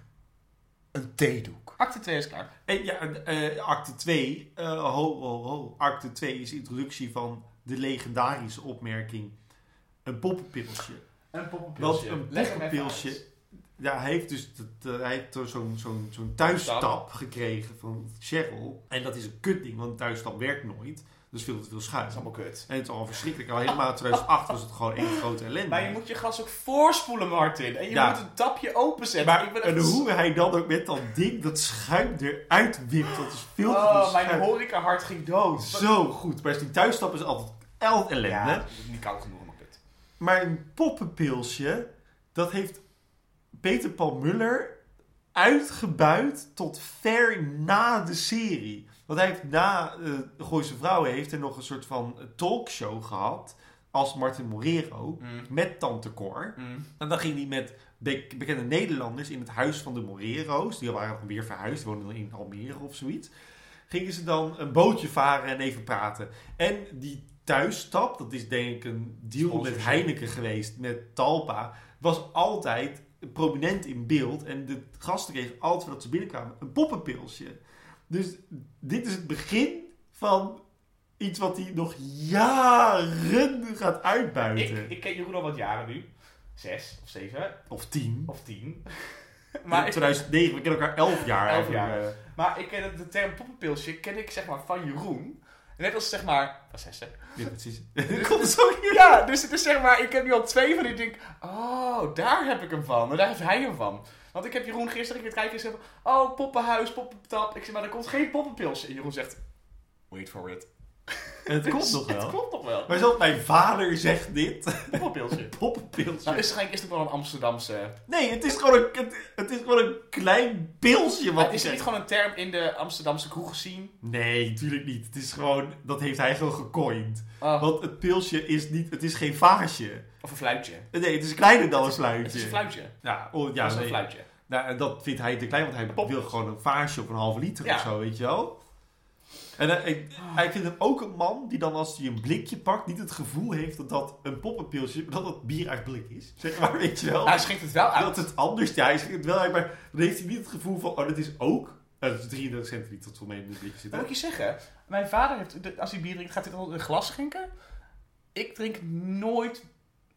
S1: Een theedoek. Acte 2 is klaar.
S2: En ja, eh, acte 2, eh, ho, ho, ho. Acte 2 is de introductie van de legendarische opmerking. Een poppenpilsje.
S1: Een
S2: Want een poppenpilsje, ja, hij heeft dus dat, eh, hij heeft dus zo'n zo'n zo'n thuisstap gekregen van Cheryl. En dat is een kutding, want een thuisstap werkt nooit. Dus veel te veel
S1: Dat
S2: schuim.
S1: is allemaal kut.
S2: En het is al verschrikkelijk. Al helemaal in 2008 was het gewoon één grote ellende.
S1: Maar je moet je gas ook voorspoelen, Martin. En je
S2: Ja.
S1: moet een tapje openzetten.
S2: Maar
S1: Ik ben
S2: en
S1: echt-
S2: hoe hij dan ook met dat ding dat schuim eruit wipt, dat is veel te veel
S1: Oh, mijn
S2: schuim.
S1: horeca hart ging dood.
S2: Zo goed. Maar die thuisstap is altijd elk ellende.
S1: Ja, dat is niet koud genoeg, maar kut.
S2: Maar een poppenpilsje, dat heeft Peter Paul Muller uitgebuit tot ver na de serie. Want hij heeft na eh Gooise Vrouwen heeft hij nog een soort van talkshow gehad als Martin Morero
S1: Mm,
S2: met Tante Cor. En dan ging hij met be- bekende Nederlanders in het huis van de Morero's. Die waren alweer verhuisd, die woonden in Almere of zoiets. Gingen ze dan een bootje varen en even praten. En die thuisstap, dat is denk ik een deal met
S1: Sponsorship.
S2: Heineken geweest, met Talpa, was altijd prominent in beeld. En de gasten kregen altijd voordat ze binnenkwamen een poppenpilsje. Dus dit is het begin van iets wat hij nog jaren gaat uitbuiten.
S1: Ik, ik ken Jeroen al wat jaren nu. Zes of zeven
S2: Of tien.
S1: of tien.
S2: Maar
S1: maar, ik,
S2: 2009, we kennen elkaar 11 jaar.
S1: Elf
S2: eigenlijk. eh,
S1: jaar. maar ik ken het- de term poppenpilsje ken ik zeg maar van Jeroen. Net als zeg maar... Van zes, hè?
S2: Ja, precies. Ik kon het zo niet.
S1: Ja, dus het is zeg maar, ik heb nu al twee van die ik denk, oh, daar heb ik hem van. En daar heeft hij hem van. Want ik heb Jeroen gisteren een keer kijken en zei, oh, poppenhuis, poppentap. Ik zeg, maar er komt geen poppenpilsje. En Jeroen zegt, wait for it.
S2: En het komt nog
S1: Het
S2: wel.
S1: klopt nog wel.
S2: Maar zelfs mijn vader zegt dit.
S1: Poppenpilsje.
S2: Poppenpilsje.
S1: Nou, is het, geen- is het wel een Amsterdamse...
S2: Nee, het is gewoon een, het, het is gewoon een klein pilsje wat
S1: Het is
S2: hij
S1: niet
S2: zegt.
S1: gewoon een term in de Amsterdamse kroeg gezien.
S2: Nee, natuurlijk niet. Het is gewoon, dat heeft hij gewoon gecoind.
S1: Oh,
S2: Want het pilsje is niet, het is geen vaasje.
S1: of een fluitje.
S2: Nee, het is kleiner dan een
S1: Het is een
S2: sluitje.
S1: fluitje.
S2: Ja, oh,
S1: Ja,
S2: ja
S1: dat is een
S2: nee.
S1: fluitje.
S2: Nou, en dat vindt hij te klein, want hij
S1: Pop.
S2: wil gewoon een vaasje of een halve liter
S1: Ja.
S2: of zo, weet je wel. En hij, ik- hij vindt hem ook een man die dan als hij een blikje pakt, niet het gevoel heeft dat dat een poppenpilsje, maar dat dat bier uit blik is. Zeg maar, weet je wel.
S1: Nou, hij schenkt het wel uit.
S2: dat het anders, ja, hij zegt het wel uit, maar dan heeft hij niet het gevoel van, oh, dat is ook, eh, dat is 33 centiliter tot voor mij in het blikje zit.
S1: Moet ik je zeggen, mijn vader heeft, de- als hij bier drinkt, gaat hij dan een glas schenken. Ik drink nooit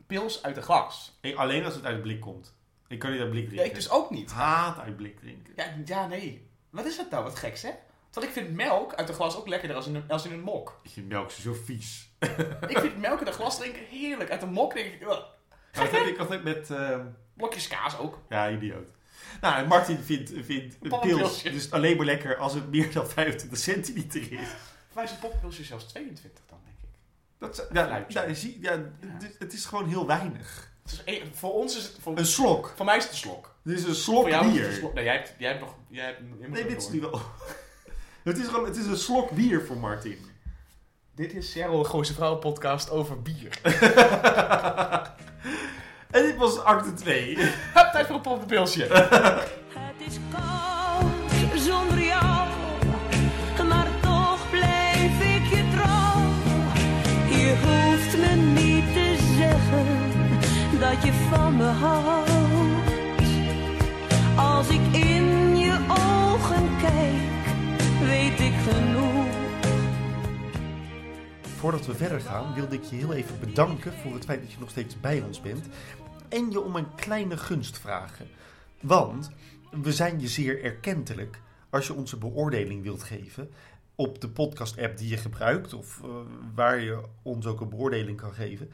S1: pils uit een glas.
S2: Ik- alleen als het uit het blik komt. Ik kan niet uit blik
S1: Ja,
S2: drinken.
S1: ik dus ook niet.
S2: haat uit blik drinken.
S1: Ja, ja, nee. Wat is dat nou, wat geks, hè? Want ik vind melk uit een glas ook lekkerder als in een, als in een mok.
S2: Ik vind melk zo vies.
S1: ik vind melk uit een glas drinken heerlijk. Uit een mok denk ik, ugh.
S2: Maar dat heb ik altijd met... eh,
S1: blokjes kaas ook.
S2: Ja, idioot. Nou, en Martin vindt, vindt een
S1: Poppenpilsje.
S2: pils dus alleen maar lekker als het meer dan 25 centiliter is.
S1: Voor mij is een poppilsje zelfs 22 dan, denk ik.
S2: Dat, is- ja,
S1: Fluitje.
S2: nou, je ziet, ja, d- Het is gewoon heel weinig.
S1: Het is één- voor ons is het... Voor,
S2: Een slok.
S1: voor mij is het een slok.
S2: Dit is een
S1: Voor
S2: slok
S1: jou is het een
S2: bier.
S1: slok. Nee, jij hebt, jij hebt nog... Jij hebt, je moet
S2: Nee,
S1: nog
S2: dit is
S1: door.
S2: nu wel... Het is gewoon het is een slok bier voor Martin.
S1: Dit is Cheryl, de Gooise Vrouwen podcast over bier.
S2: En dit was acte 2.
S1: Hup, tijd voor een poppenpilsje.
S4: Het is koud zonder jou, maar toch blijf ik je trouw. Je hoeft me niet te zeggen dat je van me houdt. Als ik in je ogen kijk, weet ik genoeg.
S2: Voordat we verder gaan, wilde ik je heel even bedanken voor het feit dat je nog steeds bij ons bent. En je om een kleine gunst vragen. Want we zijn je zeer erkentelijk als je onze beoordeling wilt geven op de podcast-app die je gebruikt of eh, waar je ons ook een beoordeling kan geven.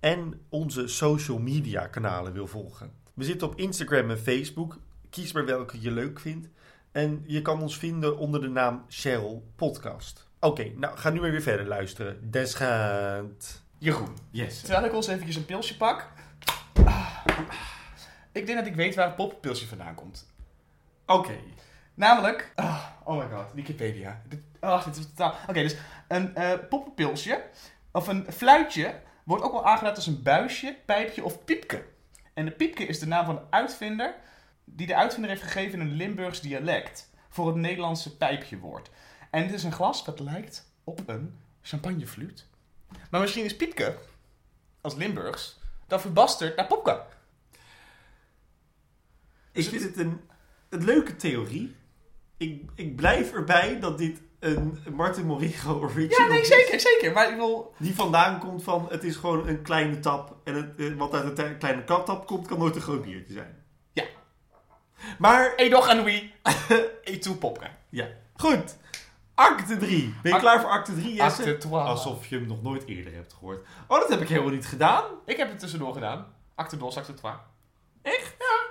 S2: En onze social media kanalen wil volgen. We zitten op Instagram en Facebook. Kies maar welke je leuk vindt. En je kan ons vinden onder de naam Cheryl Podcast. Oké, nou ga nu maar weer verder luisteren. Desgaand.
S1: Jeroen.
S2: Yes.
S1: Terwijl ik ons eventjes een pilsje pak. Ah. Ik denk dat ik weet waar het poppenpilsje vandaan komt.
S2: Oké.
S1: Namelijk... ah, oh my god, Wikipedia. Dit, ah, dit is totaal... Oké, dus een eh poppenpilsje, of een fluitje, wordt ook wel aangeduid als een buisje, pijpje of piepke. En de piepke is de naam van de uitvinder, die de uitvinder heeft gegeven in een Limburgs dialect, voor het Nederlandse pijpjewoord. En het is een glas dat lijkt op een champagnefluit. Maar misschien is piepke, als Limburgs, dan verbasterd naar popka.
S2: Ik vind het een, een leuke theorie. Ik, ik blijf erbij dat dit een Martin Moriro original
S1: Ja, nee,
S2: is.
S1: zeker, zeker. Maar ik wil...
S2: Die vandaan komt van, het is gewoon een kleine tap. En het, eh, wat uit een te- kleine tap komt, kan nooit een groot biertje zijn.
S1: Ja.
S2: Maar,
S1: Edoch en Wie. E2 Popka.
S2: ja. Goed. Acte 3. Ben je
S1: Ac-
S2: klaar voor acte 3, Jesse?
S1: Acte 12.
S2: Alsof je hem nog nooit eerder hebt gehoord. Oh, dat heb ik helemaal niet gedaan.
S1: Ik heb het tussendoor gedaan. Acte dos, acte 12.
S2: Echt? Ja.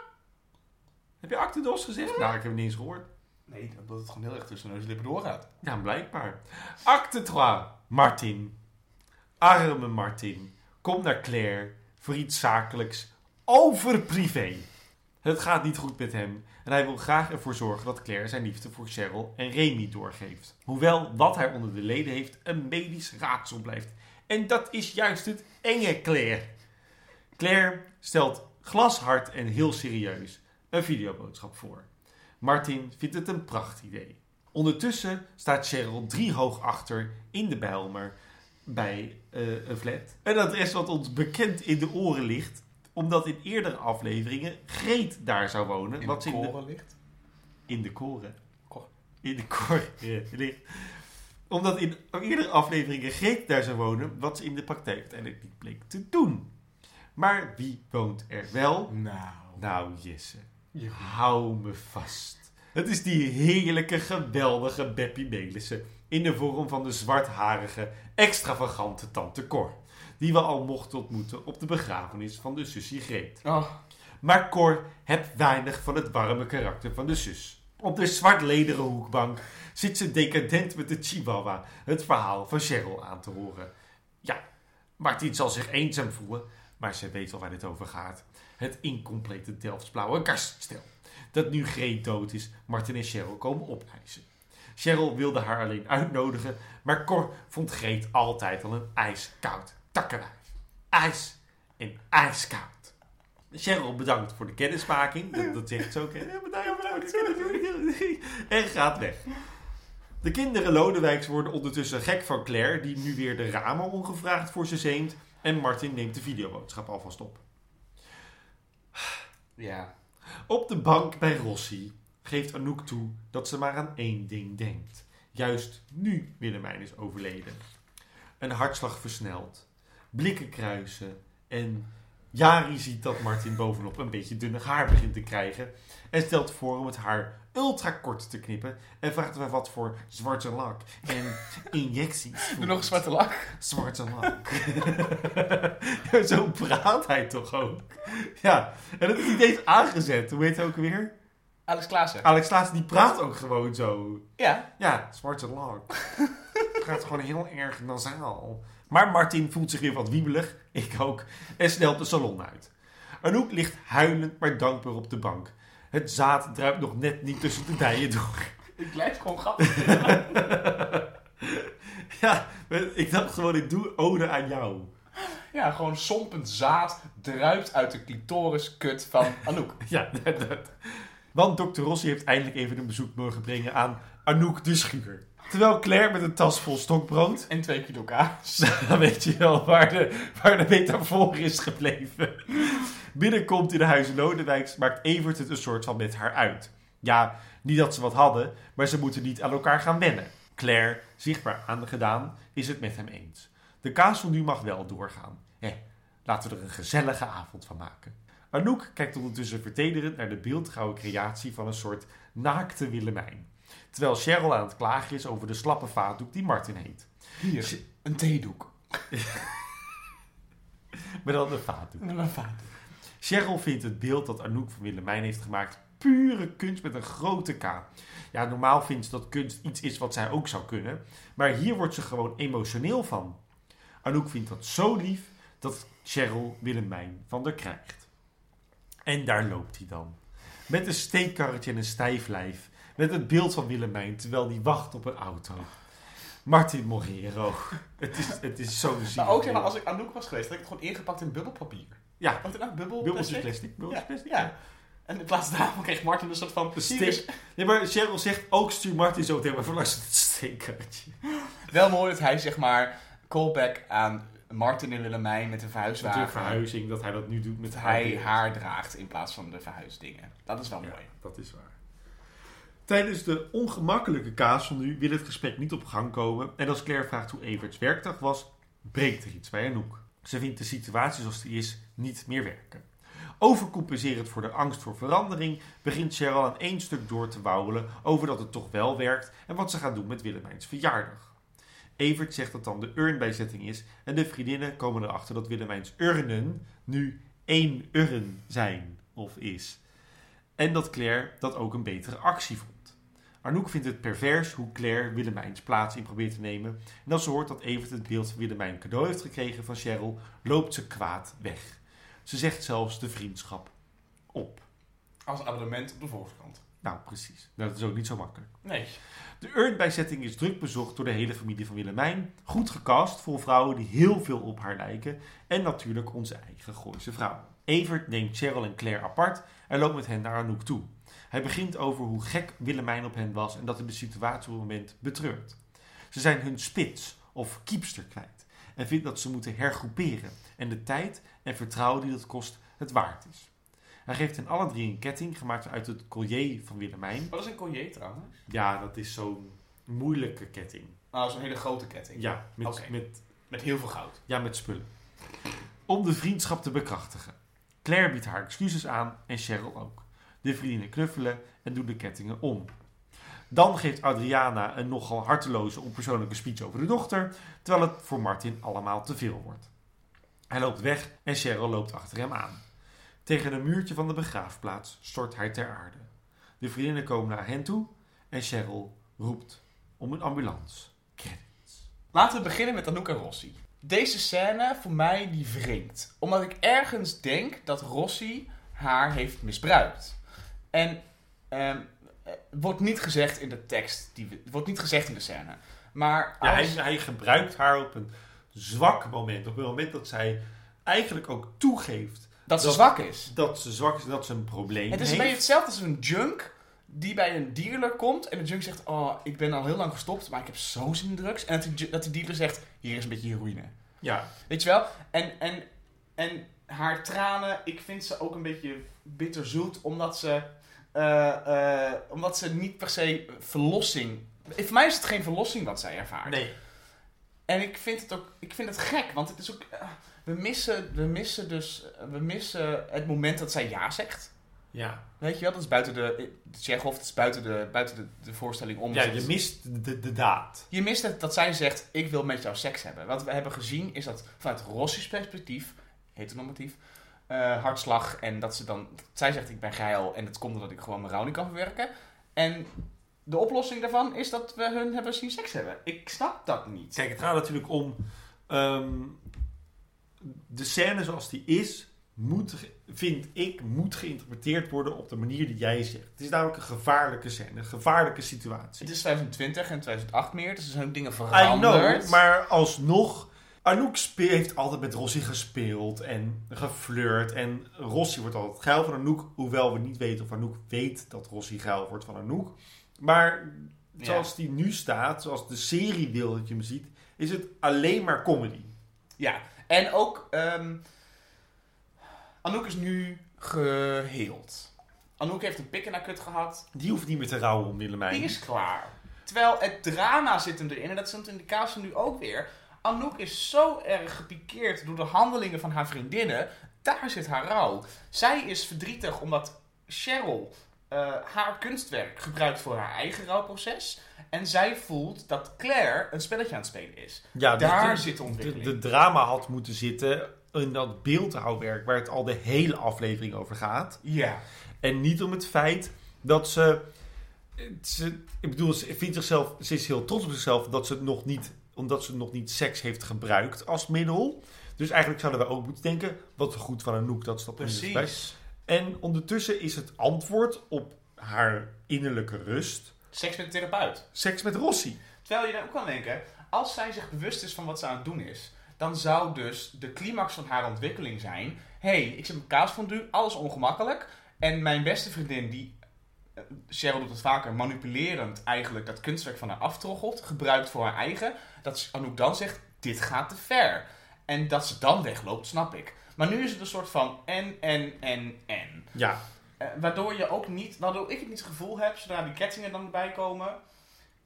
S2: Heb je acte dos gezegd? Nou, ik heb het niet eens gehoord.
S1: Nee, omdat het gewoon heel erg tussen neus en lippen doorgaat.
S2: Ja, blijkbaar. Acte 3. Martin. Arme Martin. Komt naar Claire voor iets zakelijks over privé. Het gaat niet goed met hem en hij wil graag ervoor zorgen dat Claire zijn liefde voor Cheryl en Remy doorgeeft. Hoewel wat hij onder de leden heeft een medisch raadsel blijft. En dat is juist het enge Claire. Claire stelt glashard en heel serieus een videoboodschap voor. Martin vindt het een prachtidee. Ondertussen staat Cheryl driehoog achter in de Bijlmer bij eh, een flat. Een adres wat ons bekend in de oren ligt, omdat in eerdere afleveringen Greet daar zou wonen.
S1: In
S2: wat ze
S1: de
S2: in de-
S1: koren ligt.
S2: in de koren.
S1: Kor.
S2: In de koren ligt. Omdat in eerdere afleveringen Greet daar zou wonen, wat ze in de praktijk uiteindelijk niet bleek te doen. Maar wie woont er wel?
S1: Nou.
S2: Nou, Jesse,
S1: Ja.
S2: hou me vast. Het is die heerlijke, geweldige Beppie Melissen in de vorm van de zwartharige, extravagante tante Cor. Die we al mochten ontmoeten op de begrafenis van de zusje Greet.
S1: Oh,
S2: Maar Cor hebt weinig van het warme karakter van de zus. Op de zwartlederen hoekbank zit ze decadent met de chihuahua het verhaal van Cheryl aan te horen. Ja, Martin zal zich eenzaam voelen, maar ze weet al waar dit over gaat. Het incomplete Delftsblauwe kaststel. Dat nu Greet dood is, Martin en Cheryl komen opeisen. Cheryl wilde haar alleen uitnodigen, maar Cor vond Greet altijd al een ijskoud takkenwijf. IJs en ijskoud. Cheryl bedankt voor de kennismaking. Dat, dat zegt ze ook. hè. Ja, bedankt voor de kennismaking. En gaat weg. De kinderen Lodewijks worden ondertussen gek van Claire, die nu weer de ramen ongevraagd voor ze zeemt. En Martin neemt de videoboodschap alvast op.
S1: ja.
S2: Op de bank bij Rossi geeft Anouk toe dat ze maar aan één ding denkt. Juist nu Willemijn is overleden. Een hartslag versnelt, blikken kruisen en Jari ziet dat Martin bovenop een beetje dunnig haar begint te krijgen en stelt voor om het haar ultra kort te knippen en vraagt wel wat voor zwarte lak en injecties.
S1: Doe nog een zwarte lak.
S2: Zwarte lak. Ja, Zo praat hij toch ook. Ja, en dat is niet eens aangezet. Hoe heet hij ook weer?
S1: Alex Klaassen.
S2: Alex Laas die praat ook gewoon zo.
S1: Ja.
S2: Ja, zwarte lak. praat gewoon heel erg nasaal. Maar Martin voelt zich weer wat wiebelig, ik ook, en snelt de salon uit. Anouk ligt huilend maar dankbaar op de bank. Het zaad druipt nog net niet tussen de dijen door.
S1: Ik blijf gewoon grappig.
S2: Ja, ik dacht gewoon, ik doe ode aan jou.
S1: Ja, gewoon sompend zaad druipt uit de clitoriskut van Anouk.
S2: Ja, dat. Want dokter Rossi heeft eindelijk even een bezoek mogen brengen aan Anouk de Schuur. Terwijl Claire met een tas vol stokbrood,
S1: En twee kilo kaas.
S2: dan weet je wel waar de, waar de metafoor is gebleven. Binnenkomt in de huizen Lodewijks, maakt Evert het een soort van met haar uit. Ja, niet dat ze wat hadden, maar ze moeten niet aan elkaar gaan wennen. Claire, zichtbaar aangedaan, is het met hem eens. De kaasfondue mag wel doorgaan. Hé, laten we er een gezellige avond van maken. Anouk kijkt ondertussen vertederend naar de beeldgouden creatie van een soort naakte Willemijn. Terwijl Cheryl aan het klagen is over de slappe vaatdoek die Martin heet.
S1: Hier, een theedoek.
S2: Maar dan een vaatdoek.
S1: Mijn vader.
S2: Cheryl vindt het beeld dat Anouk van Willemijn heeft gemaakt pure kunst met een grote K. Ja, normaal vindt ze dat kunst iets is wat zij ook zou kunnen. Maar hier wordt ze gewoon emotioneel van. Anouk vindt dat zo lief dat Cheryl Willemijn van haar krijgt. En daar loopt hij dan. Met een steekkarretje en een stijf lijf. Met het beeld van Willemijn terwijl hij wacht op een auto. Martin Morero. Het is, het is zo zielig.
S1: Maar ook zeg maar, als ik Anouk was geweest, had ik het gewoon ingepakt in bubbelpapier.
S2: Ja,
S1: Want nou bubbel
S2: bubbeltjes
S1: plastic?
S2: plastic.
S1: Ja,
S2: Bubbeltjes plastic.
S1: ja. En in plaats daarvan kreeg Martin een soort van...
S2: Een
S1: hier is-
S2: steek. Nee, maar Cheryl zegt ook stuur Martin zo meteen maar voor langs het steekkaartje.
S1: Wel mooi dat hij zeg maar callback aan Martin en Willemijn met een verhuiswagen.
S5: Natuurlijk verhuizing, dat hij dat nu doet met
S1: Dat hij
S5: weer.
S1: haar draagt in plaats van de verhuisdingen. Dat is wel
S5: Ja,
S1: mooi.
S5: dat is waar.
S2: Tijdens de ongemakkelijke kaas van nu wil het gesprek niet op gang komen. En als Claire vraagt hoe Everts werkdag was, breekt er iets bij Anouk. Ze vindt de situatie zoals die is niet meer werken. Overcompenserend voor de angst voor verandering begint Cheryl aan één stuk door te wauwelen over dat het toch wel werkt en wat ze gaat doen met Willemijns verjaardag. Evert zegt dat dan de urnbijzetting is en de vriendinnen komen erachter dat Willemijns urnen nu één urn zijn of is. En dat Claire dat ook een betere actie vond. Arnoek vindt het pervers hoe Claire Willemijns plaats in probeert te nemen. En als ze hoort dat Evert het beeld van Willemijn cadeau heeft gekregen van Cheryl, loopt ze kwaad weg. Ze zegt zelfs de vriendschap op.
S1: Als abonnement op de Volkskrant.
S2: Nou, precies. Nou, dat is ook niet zo makkelijk.
S1: Nee.
S2: De urnbijzetting is druk bezocht door de hele familie van Willemijn. Goed gecast, vol vrouwen die heel veel op haar lijken. En natuurlijk onze eigen Gooise vrouw. Evert neemt Cheryl en Claire apart en loopt met hen naar Anouk toe. Hij begint over hoe gek Willemijn op hen was en dat hij de situatie op het moment betreurt. Ze zijn hun spits of kiepster kwijt en vindt dat ze moeten hergroeperen en de tijd en vertrouwen die dat kost het waard is. Hij geeft hen alle drie een ketting gemaakt uit het collier van Willemijn.
S1: Wat is een collier trouwens?
S2: Ja, dat is zo'n moeilijke ketting.
S1: Nou, zo'n hele grote ketting.
S2: Ja, met,
S1: Oké.
S2: met,
S1: Met heel veel goud.
S2: ja, met spullen. Om de vriendschap te bekrachtigen. Claire biedt haar excuses aan en Cheryl ook. De vriendinnen knuffelen en doen de kettingen om. Dan geeft Adriana een nogal harteloze onpersoonlijke speech over de dochter, terwijl het voor Martin allemaal te veel wordt. Hij loopt weg en Cheryl loopt achter hem aan. Tegen een muurtje van de begraafplaats stort hij ter aarde. De vriendinnen komen naar hen toe en Cheryl roept om een ambulance.
S1: Laten we beginnen met Anouk en Rossi. Deze scène voor mij die wringt. Omdat ik ergens denk dat Rossi haar heeft misbruikt. En ehm, eh, wordt niet gezegd in de tekst. Die we- wordt niet gezegd in de scène. Maar
S2: Ja, hij,
S1: als...
S2: hij gebruikt haar op een zwak moment. Op een moment dat zij eigenlijk ook toegeeft
S1: dat ze
S2: dat-
S1: zwak is.
S2: dat ze zwak is en dat ze een probleem
S1: Het is een beetje
S2: heeft.
S1: hetzelfde als een junk die bij een dealer komt en de junk zegt, oh, ik ben al heel lang gestopt, maar ik heb zo zin in drugs. En dat de, ju- dat de dealer zegt, hier is een beetje heroïne.
S2: Ja,
S1: Weet je wel? En, en, en haar tranen, ik vind ze ook een beetje bitterzoet, omdat ze, eh, eh, omdat ze niet per se verlossing... Voor mij is het geen verlossing wat zij ervaart.
S2: nee.
S1: En ik vind het ook ik vind het gek, want het is ook... eh, we, missen, we missen dus eh, we missen het moment dat zij ja zegt.
S2: Ja.
S1: Weet je wel, dat is buiten de. Tsjechov, dat is buiten de, buiten de, de voorstelling om. Dus
S2: ja, je mist de, de daad.
S1: Je mist het dat zij zegt: Ik wil met jou seks hebben. Wat we hebben gezien is dat vanuit Rossi's perspectief, heteronormatief, eh hartslag. En dat ze dan. dat zij zegt: Ik ben geil en dat komt omdat ik gewoon mijn rouw niet kan verwerken. En de oplossing daarvan is dat we hun hebben zien seks hebben. Ik snap dat niet.
S2: Kijk, het gaat natuurlijk om... ehm, de scène zoals die is, moet, ge- vind ik, moet geïnterpreteerd worden op de manier die jij zegt. Het is namelijk een gevaarlijke scène, een gevaarlijke situatie.
S1: Het is 2020 en 2008 meer, dus er zijn dingen
S2: I
S1: veranderd.
S2: know, maar alsnog. Anouk spe- heeft altijd met Rossi gespeeld en geflirt. En Rossi wordt altijd geil van Anouk. Hoewel we niet weten of Anouk weet dat Rossi geil wordt van Anouk. Maar
S1: Ja.
S2: zoals die nu staat, zoals de serie wil dat je hem ziet, is het alleen maar comedy.
S1: Ja, en ook ehm, Anouk is nu geheeld. Anouk heeft een pik in haar kut gehad.
S2: Die hoeft niet meer te rouwen om Willemijn.
S1: Die is klaar. Terwijl het drama zit hem erin. En dat zit in de kaas nu ook weer. Anouk is zo erg gepikeerd door de handelingen van haar vriendinnen. Daar zit haar rouw. Zij is verdrietig omdat Cheryl eh, haar kunstwerk gebruikt voor haar eigen rouwproces. En zij voelt dat Claire een spelletje aan het spelen is.
S2: Ja, dus
S1: Daar
S2: de-
S1: zit de
S2: de,
S1: ontwikkeling.
S2: de drama had moeten zitten in dat beeldhouwwerk waar het al de hele aflevering over gaat.
S1: Ja.
S2: En niet om het feit dat ze. ze ik bedoel, ze, vindt zichzelf, ze is heel trots op zichzelf dat ze het nog niet, omdat ze nog niet seks heeft gebruikt als middel. Dus eigenlijk zouden we ook moeten denken: wat goed van Anouk dat ze dat nog niet heeft gebruikt.
S1: Precies.
S2: En ondertussen is het antwoord op haar innerlijke rust
S1: Seks met een therapeut.
S2: seks met Rossi.
S1: Terwijl je dan ook kan denken, als zij zich bewust is van wat ze aan het doen is, dan zou dus de climax van haar ontwikkeling zijn: hé, hey, ik zit op kaasfondue, alles ongemakkelijk. En mijn beste vriendin, die eh, Cheryl doet het vaker, manipulerend eigenlijk dat kunstwerk van haar aftroggelt, gebruikt voor haar eigen, dat Anouk dan zegt: dit gaat te ver. En dat ze dan wegloopt, snap ik. Maar nu is het een soort van en, en, en, en.
S2: Ja,
S1: Eh, waardoor je ook niet, waardoor ik het niet het gevoel heb, zodra die kettingen dan erbij komen,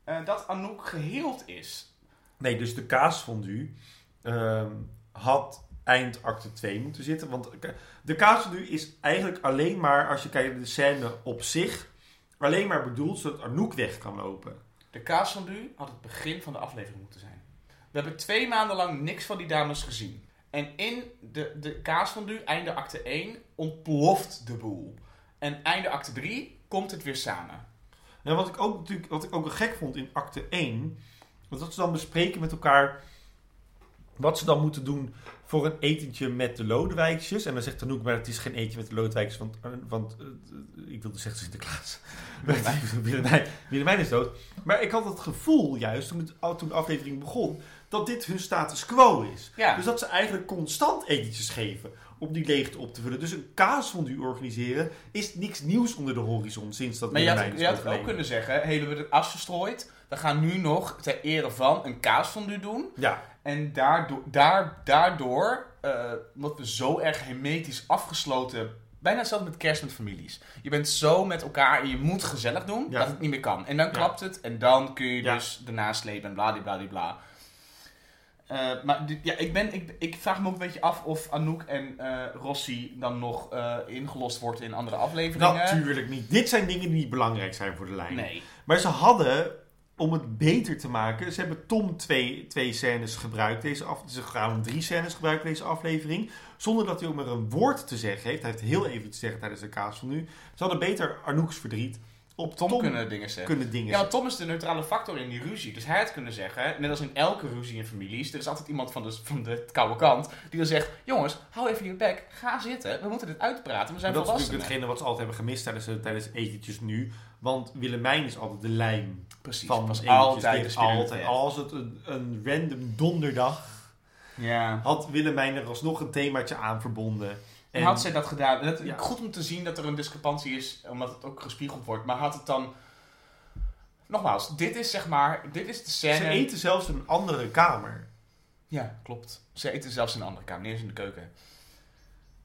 S1: eh, dat Anouk geheeld is.
S2: Nee, dus de kaasfondue ehm had eind acte 2 moeten zitten. Want k- de kaasfondue is eigenlijk alleen maar, als je kijkt naar de scène op zich, alleen maar bedoeld zodat Arnoek weg kan lopen.
S1: De kaasfondue had het begin van de aflevering moeten zijn. We hebben twee maanden lang niks van die dames gezien. En in de, de kaasfondue, einde acte 1, ontploft de boel. En einde acte 3 komt het weer samen.
S2: En wat ik ook natuurlijk, wat ik ook wel gek vond in acte 1, was dat ze dan bespreken met elkaar wat ze dan moeten doen voor een etentje met de Lodewijkjes. En dan zegt Arnoek, maar het is geen etentje met de Lodewijkjes, want, eh, want eh, ik wilde zeggen Sinterklaas. Willemijn. Willemijn is dood. Maar ik had het gevoel juist, toen, het, toen de aflevering begon, dat dit hun status quo is.
S1: Ja.
S2: Dus dat ze eigenlijk constant etentjes geven om die leegte op te vullen. Dus een kaasfondue organiseren is niks nieuws onder de horizon sinds dat
S1: Maar je had,
S2: Willemijn is
S1: je had ook
S2: overleden.
S1: kunnen zeggen, hey, we hebben het afgestrooid. We gaan nu nog, ter ere van, een kaasfondue doen.
S2: Ja,
S1: En daardoor, daar, daardoor eh, omdat we zo erg hermetisch afgesloten... Bijna hetzelfde met kerst met families. Je bent zo met elkaar en je moet gezellig doen
S2: Ja.
S1: dat het niet meer kan. En dan klapt het en dan kun je
S2: Ja.
S1: dus daarna slepen en bladibladibla. Eh maar die- ja, ik, ben, ik, ik vraag me ook een beetje af of Anouk en eh, Rossi dan nog eh, ingelost wordt in andere afleveringen.
S2: Natuurlijk niet. Dit zijn dingen die niet belangrijk zijn voor de lijn.
S1: Nee.
S2: Maar ze hadden, om het beter te maken, ze hebben Tom twee, twee scènes gebruikt. Deze af, ze gaan hem drie scènes gebruiken deze aflevering. Zonder dat hij ook maar een woord te zeggen heeft. Hij heeft heel even te zeggen tijdens de kaas van nu. Ze hadden beter Arnoeks verdriet op Tom,
S1: Tom, kunnen dingen zeggen.
S2: kunnen dingen
S1: Ja, want Tom is de neutrale factor in die ruzie. Dus hij had kunnen zeggen, net als in elke ruzie in families, er is altijd iemand van de, van de koude kant die dan zegt: Jongens, hou even je bek, ga zitten, we moeten dit uitpraten, we zijn
S2: dat is natuurlijk
S1: volwassenen.
S2: hetgene wat ze altijd hebben gemist tijdens, tijdens etentjes nu. Want Willemijn is altijd de lijn
S1: Precies,
S2: van
S1: was
S2: etentjes.
S1: altijd
S2: Dit
S1: de
S2: altijd.
S1: altijd.
S2: Als het een, een random donderdag
S1: Ja.
S2: had Willemijn er alsnog een themaatje aan verbonden.
S1: En had zij dat gedaan? Dat,
S2: Ja.
S1: Goed om te zien dat er een discrepantie is, omdat het ook gespiegeld wordt. Maar had het dan. Nogmaals, dit is zeg maar. Dit is de scène.
S2: Ze eten zelfs in een andere kamer.
S1: Ja, klopt. Ze eten zelfs in een andere kamer, niet eens in de keuken.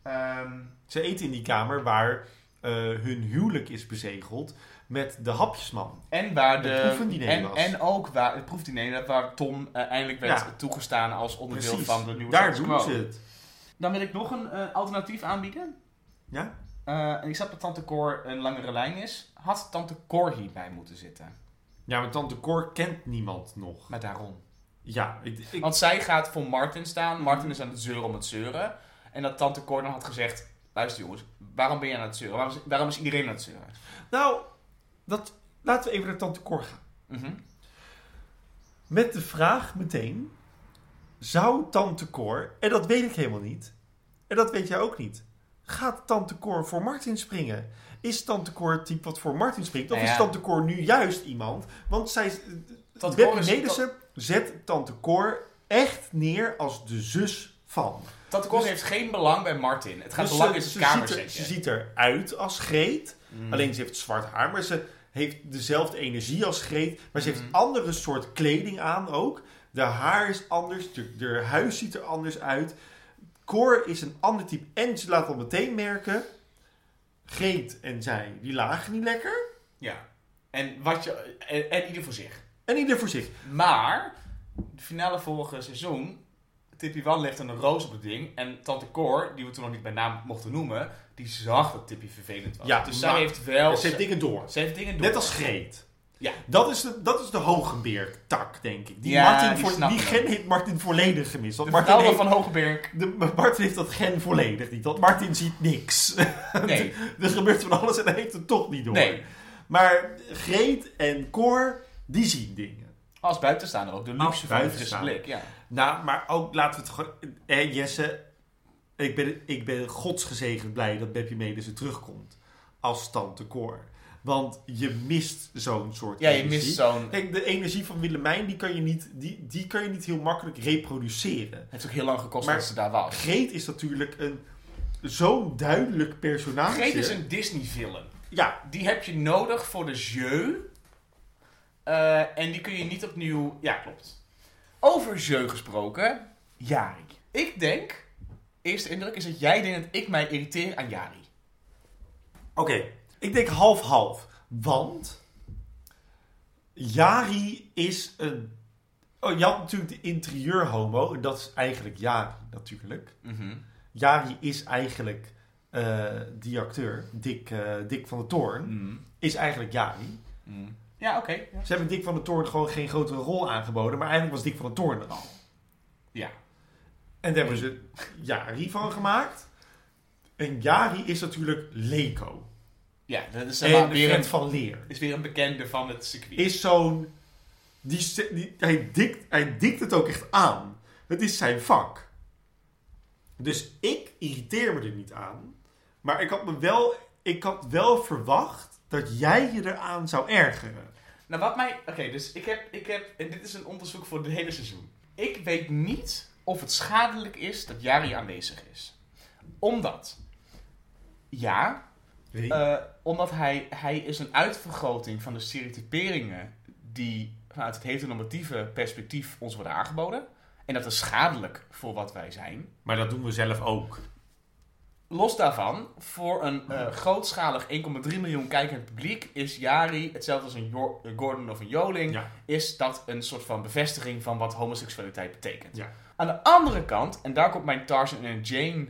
S1: Ehm,
S2: Ze eten in die kamer waar eh, hun huwelijk is bezegeld met de hapjesman.
S1: En waar de.
S2: Het proefdiner
S1: en,
S2: was.
S1: en ook waar het proefdiner waar Tom eh, eindelijk werd
S2: Ja.
S1: toegestaan als onderdeel
S2: Precies,
S1: van de nieuwe
S2: daar
S1: status
S2: doen
S1: quo.
S2: ze het.
S1: Dan wil ik nog een eh, alternatief aanbieden.
S2: Ja?
S1: Eh, en ik zat dat Tante Cor een langere lijn is. Had Tante Cor hierbij moeten zitten.
S2: Ja, maar Tante Cor kent niemand nog.
S1: Maar daarom.
S2: Ja, ik, ik,
S1: Want zij gaat voor Martin staan. Martin is aan het zeuren om het zeuren. En dat Tante Cor dan had gezegd... Luister jongens, waarom ben je aan het zeuren? Waarom is, waarom is iedereen aan het zeuren?
S2: nou, dat, laten we even naar Tante Cor gaan.
S1: Mhm.
S2: Met de vraag meteen, zou Tante Cor, en dat weet ik helemaal niet, en dat weet jij ook niet, gaat Tante Cor voor Martin springen? Is Tante Cor het type wat voor Martin springt? Of
S1: Nou
S2: is
S1: ja.
S2: Tante Cor nu juist iemand? Want zij,
S1: Tante
S2: Beppe
S1: Cor is-
S2: Nedersen zet Tante Cor echt neer als de zus van.
S1: Tante Cor
S2: Dus-
S1: heeft geen belang bij Martin. Het gaat
S2: Dus
S1: belang
S2: ze-
S1: in zijn Mm.
S2: ze ziet, er,
S1: kamerzetje.
S2: ze ziet eruit als Greet. Alleen ze heeft zwart haar, maar ze heeft dezelfde energie als Greet. Maar ze
S1: Mm.
S2: heeft andere soort kleding aan ook. De haar is anders, de, de huis ziet er anders uit. Cor is een ander type. En ze laat al meteen merken... Greet en zij, die lagen niet lekker.
S1: Ja. En, wat je, en, en ieder voor zich.
S2: En ieder voor zich.
S1: Maar, de finale vorige seizoen, Tippy Wan legde een roos op het ding. En Tante Cor, die we toen nog niet bij naam mochten noemen, die zag dat Tippy vervelend was.
S2: Ja,
S1: dus
S2: maar-
S1: zij heeft wel...
S2: ze heeft dingen door.
S1: ze heeft dingen door.
S2: Net als Greet.
S1: Ja.
S2: Dat is de, dat is de Hogenbeer-tak, denk ik. Die,
S1: Ja,
S2: Martin
S1: die
S2: voor-
S1: snap
S2: die
S1: ik.
S2: gen heeft Martin volledig gemist. Want
S1: De
S2: Martin
S1: vertrouwen
S2: heeft,
S1: van Hogeberg.
S2: de, Martin heeft dat gen volledig niet. Want Martin ziet niks.
S1: Nee,
S2: er gebeurt van alles en hij heeft het toch niet door.
S1: nee.
S2: Maar Greet en Cor, die zien dingen.
S1: Als buitenstaander ook. De
S2: Als
S1: luxe van de frisse
S2: buitenstaander.
S1: blik. Ja.
S2: Nou, maar ook laten we het gewoon... Eh, Jesse, ik ben, ik ben godsgezegend blij dat Beppie Medersen terugkomt. Als tante Cor. Want je mist zo'n soort
S1: ja, je
S2: energie.
S1: mist zo'n...
S2: Kijk, de energie van Willemijn, die kan je niet, die, die kan je niet heel makkelijk reproduceren.
S1: Het heeft ook heel lang gekost
S2: Maar-
S1: dat ze daar was.
S2: Greet is natuurlijk een zo'n duidelijk personage.
S1: Greet is een Disney-villain.
S2: Ja,
S1: Die heb je nodig voor de jeu. Eh, en die kun je niet opnieuw... Ja, klopt. Over jeu gesproken. Jari. Ik denk, eerste indruk, is dat jij denkt dat ik mij irriteer aan Jari.
S2: Oké, ik denk half-half. Want Jari is een... Oh, je had natuurlijk de interieurhomo. En dat is eigenlijk Jari natuurlijk.
S1: Mhm.
S2: Jari is eigenlijk eh, die acteur, Dick, eh, Dick van der Toorn, is eigenlijk Jari.
S1: Mm. Ja, oké. Ja.
S2: Ze hebben Dick van der Toorn gewoon geen grotere rol aangeboden. Maar eigenlijk was Dick van der Toorn er al.
S1: Ja.
S2: En daar hebben ze Jari van gemaakt. En Jari is natuurlijk Leko.
S1: Ja, dat is, zeg maar
S2: En
S1: weer
S2: Fred
S1: een,
S2: van Leer.
S1: is weer een bekende van het circuit.
S2: Eh, Is zo'n... Die, st- die, hij, dikt, hij dikt het ook echt aan. Het is zijn vak. Dus ik irriteer me er niet aan. Maar ik had, me wel, ik had wel verwacht dat jij je eraan zou ergeren.
S1: Nou, wat mij. Oké, dus ik heb, ik heb. En dit is een onderzoek voor het hele seizoen. Ik weet niet of het schadelijk is dat Jari aanwezig is. Omdat. Ja, eh, omdat hij, hij is een uitvergroting van de stereotyperingen die vanuit het heteronormatieve perspectief ons worden aangeboden. En dat is schadelijk voor wat wij zijn.
S5: Maar dat doen we zelf ook.
S1: Los daarvan, voor een eh, grootschalig 1,3 miljoen kijkend publiek is Jari, hetzelfde als een Jo- eh, Gordon of een Joling,
S5: Ja.
S1: is dat een soort van bevestiging van wat homoseksualiteit betekent.
S5: Ja.
S1: Aan de andere kant, en daar komt mijn Tarzan en Jane...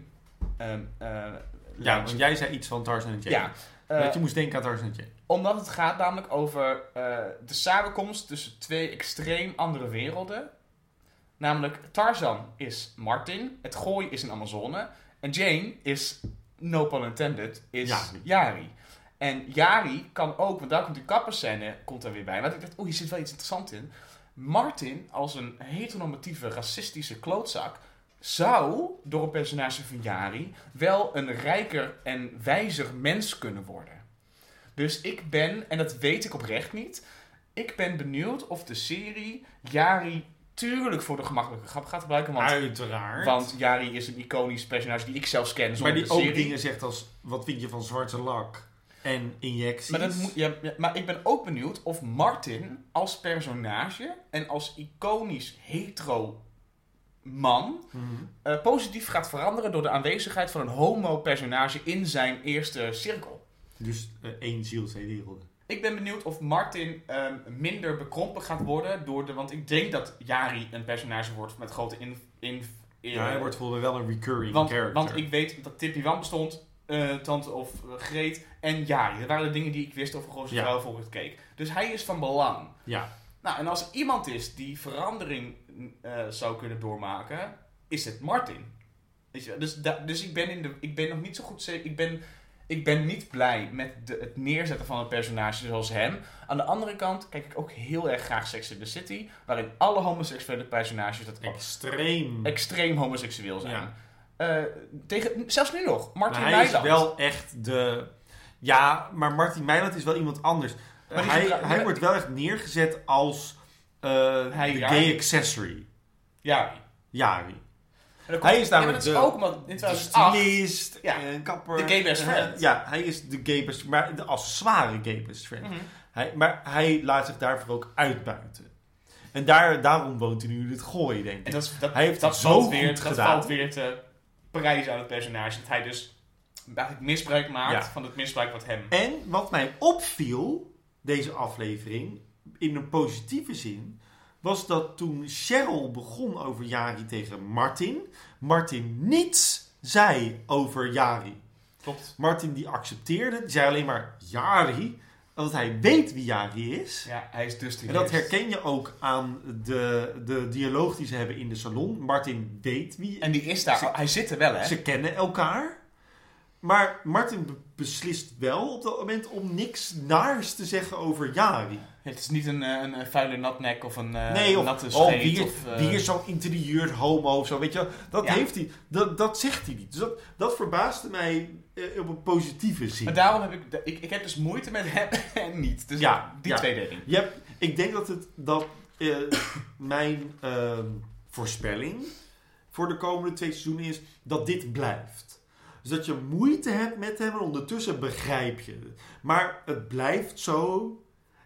S1: ehm, eh,
S5: Ja, want jij zei iets van Tarzan en Jane.
S1: ja, eh,
S5: dat je moest denken aan Tarzan en Jane.
S1: omdat het gaat namelijk over eh, de samenkomst tussen twee extreem andere werelden. Namelijk Tarzan is Martin, het gooi is een Amazone. En Jane is, no pun intended, is
S5: Jari.
S1: Jari. En Jari kan ook, want daar komt die kapperscène komt er weer bij. Maar ik dacht, oeh, hier zit wel iets interessants in. Martin, als een heteronormatieve, racistische klootzak, zou door een personage van Jari wel een rijker en wijzer mens kunnen worden. Dus ik ben, en dat weet ik oprecht niet, ik ben benieuwd of de serie Jari tuurlijk voor de gemakkelijke grap gaat gebruiken. Want,
S5: Uiteraard.
S1: want Jari is een iconisch personage die ik zelfs ken
S2: Maar
S1: zonder
S2: die
S1: de
S2: ook
S1: serie.
S2: dingen zegt als... Wat vind je van zwarte lak? En injecties?
S1: Maar, dat moet, ja, ja, maar ik ben ook benieuwd of Martin als personage en als iconisch hetero man
S2: Mhm.
S1: eh, positief gaat veranderen door de aanwezigheid van een homo-personage in zijn eerste cirkel.
S2: Dus eh, één ziel, twee werelden.
S1: Ik ben benieuwd of Martin ehm, minder bekrompen gaat worden door de. Want ik denk dat Jari een personage wordt met grote in. in, in-
S2: Ja, hij wordt volgens mij wel een recurring
S1: want,
S2: character.
S1: want ik weet dat Tippy Wan bestond, eh, Tante of eh, Greet en Jari. Dat waren de dingen die ik wist over Roze
S2: Ja.
S1: Vrouw voor het keek. Dus hij is van belang.
S2: Ja.
S1: Nou, en als er iemand is die verandering eh, zou kunnen doormaken, is het Martin. Weet je, wel? dus, da- dus ik ben in de. Ik ben nog niet zo goed zeker. Ik ben, ik ben niet blij met de, het neerzetten van een personage zoals hem. Aan de andere kant kijk ik ook heel erg graag Sex in the City, waarin alle homoseksuele personages dat
S2: Extreem.
S1: extreem homoseksueel zijn.
S2: Ja.
S1: Eh, tegen, zelfs nu nog,
S2: Maar
S1: Martin
S2: hij is
S1: Meiland.
S2: wel echt de... Ja, maar Martin Meiland is wel iemand anders.
S1: Maar die
S2: hij,
S1: gebruikt-
S2: hij wordt wel echt neergezet als eh
S1: Hij
S2: de
S1: Jari.
S2: gay accessory.
S1: Ja.
S2: Jari.
S1: En dat
S2: Hij
S1: komt-
S2: is
S1: ja, maar
S2: namelijk
S1: dat
S2: de-
S1: ook omdat in
S2: De
S1: 2008
S2: stylist,
S1: Ja.
S2: en kapper. eh,
S1: De gay best friend.
S2: Ja, hij is de gay best maar de accessoire gay best friend.
S1: Mhm.
S2: Hij, maar hij laat zich daarvoor ook uitbuiten. En daar, daarom woont hij nu in het gooi, denk ik.
S1: En dat, is- dat,
S2: Hij heeft
S1: dat
S2: het zo
S1: valt
S2: goed
S1: weer, Dat
S2: gedaan.
S1: valt weer te prijzen aan het personage. Dat hij dus eigenlijk misbruik maakt
S2: Ja.
S1: van het misbruik wat hem...
S2: En wat mij opviel, deze aflevering, in een positieve zin, was dat toen Cheryl begon over Jari tegen Martin, Martin niets zei over Jari.
S1: Klopt.
S2: Martin die accepteerde, die zei alleen maar Jari, omdat hij weet wie Jari is.
S1: Ja, hij is dus die
S2: En dat
S1: geest.
S2: herken je ook aan de, de dialoog die ze hebben in de salon. Martin weet wie
S1: En die is daar.
S2: Ze-
S1: hij zit er wel, hè?
S2: ze kennen elkaar. Maar Martin be- beslist wel op dat moment om niks naars te zeggen over Jari.
S1: Het is niet een, eh, een, eh, vuile natnek of een eh,
S2: nee, of,
S1: natte
S2: oh,
S1: scheet.
S2: wie, is-
S1: of, eh,
S2: wie is zo'n interieur homo of zo, weet je wel. Dat
S1: Ja.
S2: heeft hij, dat, dat zegt hij niet. Dus dat, dat verbaasde mij eh, op een positieve zin.
S1: Maar daarom heb ik, ik... Ik heb dus moeite met hem en niet. Dus
S2: Ja,
S1: die
S2: ja.
S1: twee dingen.
S2: Je hebt- ik denk dat, het, dat eh, mijn ehm, voorspelling voor de komende twee seizoenen is dat dit blijft. Dus dat je moeite hebt met hem en ondertussen begrijp je het. Maar het blijft zo.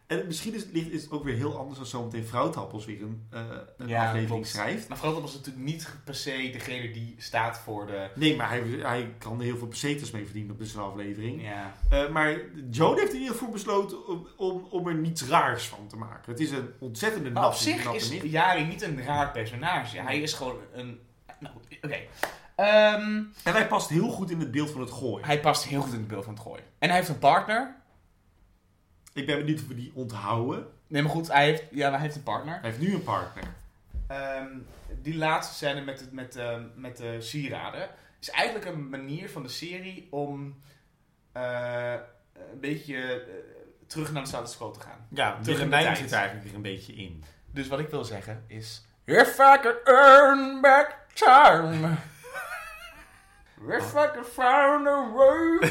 S2: En misschien is het, ligt- is het ook weer heel anders als zometeen Vrouwtappels weer een, eh, een
S1: Ja,
S2: aflevering
S1: klopt.
S2: schrijft.
S1: Maar Groot was natuurlijk niet per se degene die staat voor de...
S2: Nee, maar hij, hij kan er heel veel pesetas mee verdienen op deze aflevering.
S1: Ja.
S2: Eh, maar Joan heeft in ieder geval besloten om, om, om er niets raars van te maken. Het is een ontzettende
S1: Maar op
S2: natte,
S1: zich
S2: natte
S1: is
S2: nicht.
S1: Jari niet een raar personage. Hij is gewoon een... Nou, oké. Ehm,
S2: En hij past heel goed in het beeld van het gooien.
S1: hij past heel goed in het beeld van het gooien. En hij heeft een partner.
S2: Ik ben benieuwd of we die onthouden.
S1: Nee, maar goed, hij heeft, ja, hij heeft een partner.
S2: Hij heeft nu een partner.
S1: Ehm, die laatste scène met, het- met, ehm, met de sieraden is eigenlijk een manier van de serie om eh, een beetje eh, terug naar de status quo te gaan.
S2: Ja,
S1: tegen de tijd.
S2: zit er eigenlijk weer een beetje in.
S1: Dus wat ik wil zeggen is... If I could earn back time... If I could find a way...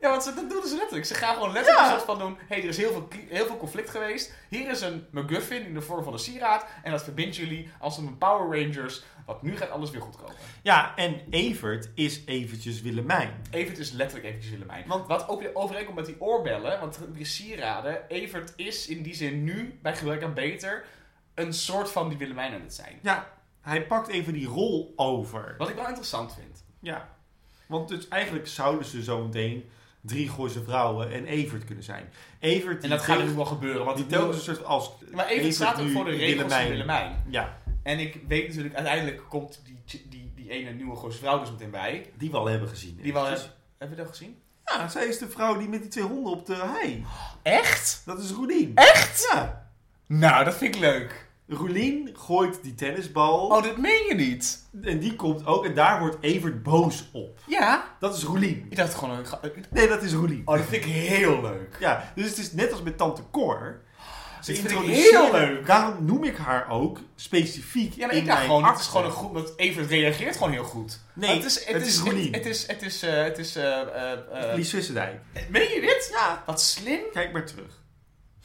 S1: Ja, want ze, dat doen ze letterlijk. Ze gaan gewoon letterlijk een soort van doen... hey, er is heel veel, ki- heel veel conflict geweest. Hier is een MacGuffin in de vorm van een sieraad. En dat verbindt jullie als een Power Rangers. Want nu gaat alles weer goed komen.
S2: Ja, en Evert is eventjes Willemijn.
S1: Evert is letterlijk eventjes Willemijn.
S2: Want-
S1: Want wat ook weer overeenkomt met die oorbellen, want die sieraden, Evert is in die zin nu, bij gebrek aan beter, een soort van die Willemijn aan het zijn.
S2: Ja, hij pakt even die rol over.
S1: Wat ik wel interessant vind.
S2: Ja, want dus eigenlijk zouden ze zo meteen drie Gooise vrouwen en Evert kunnen zijn. Evert
S1: En dat
S2: die
S1: gaat
S2: telkens-
S1: natuurlijk wel gebeuren, want
S2: die
S1: die
S2: telkens een soort als...
S1: Maar Evert, staat ook
S2: nu
S1: voor de regels van Willemijn.
S2: Ja,
S1: En ik weet natuurlijk, uiteindelijk komt die, ch- die, die ene nieuwe Gooise vrouw dus meteen bij.
S2: die we al hebben gezien.
S1: Die wel
S2: eventjes.
S1: Hebben we dat gezien?
S2: Ja, zij is de vrouw die met die twee honden op de hei.
S1: Echt?
S2: Dat is Roelien. Echt? Ja.
S1: Nou, dat vind ik leuk.
S2: Roelien gooit die tennisbal.
S1: Oh, dat meen je niet?
S2: En die komt ook. En daar wordt Evert boos op.
S1: Ja.
S2: Dat is Roelien.
S1: Ik dacht gewoon... een ga-
S2: Nee, dat is Roelien.
S1: Oh, dat vind ik heel leuk.
S2: Ja, dus het is net als met Tante Cor. Ze
S1: Dit vind ik
S2: introduceren-
S1: heel leuk.
S2: Daarom noem ik haar ook specifiek
S1: Ja, maar
S2: in
S1: ik dacht
S2: mijn
S1: gewoon, het is
S2: acte.
S1: gewoon een goed, want Evert reageert gewoon heel goed.
S2: Nee,
S1: Maar
S2: het is Roelien.
S1: Het, het is, het is, eh, het is, eh, eh, eh,
S2: Lies Sissendijk.
S1: meen je dit? Ja. Wat slim.
S2: Kijk maar terug.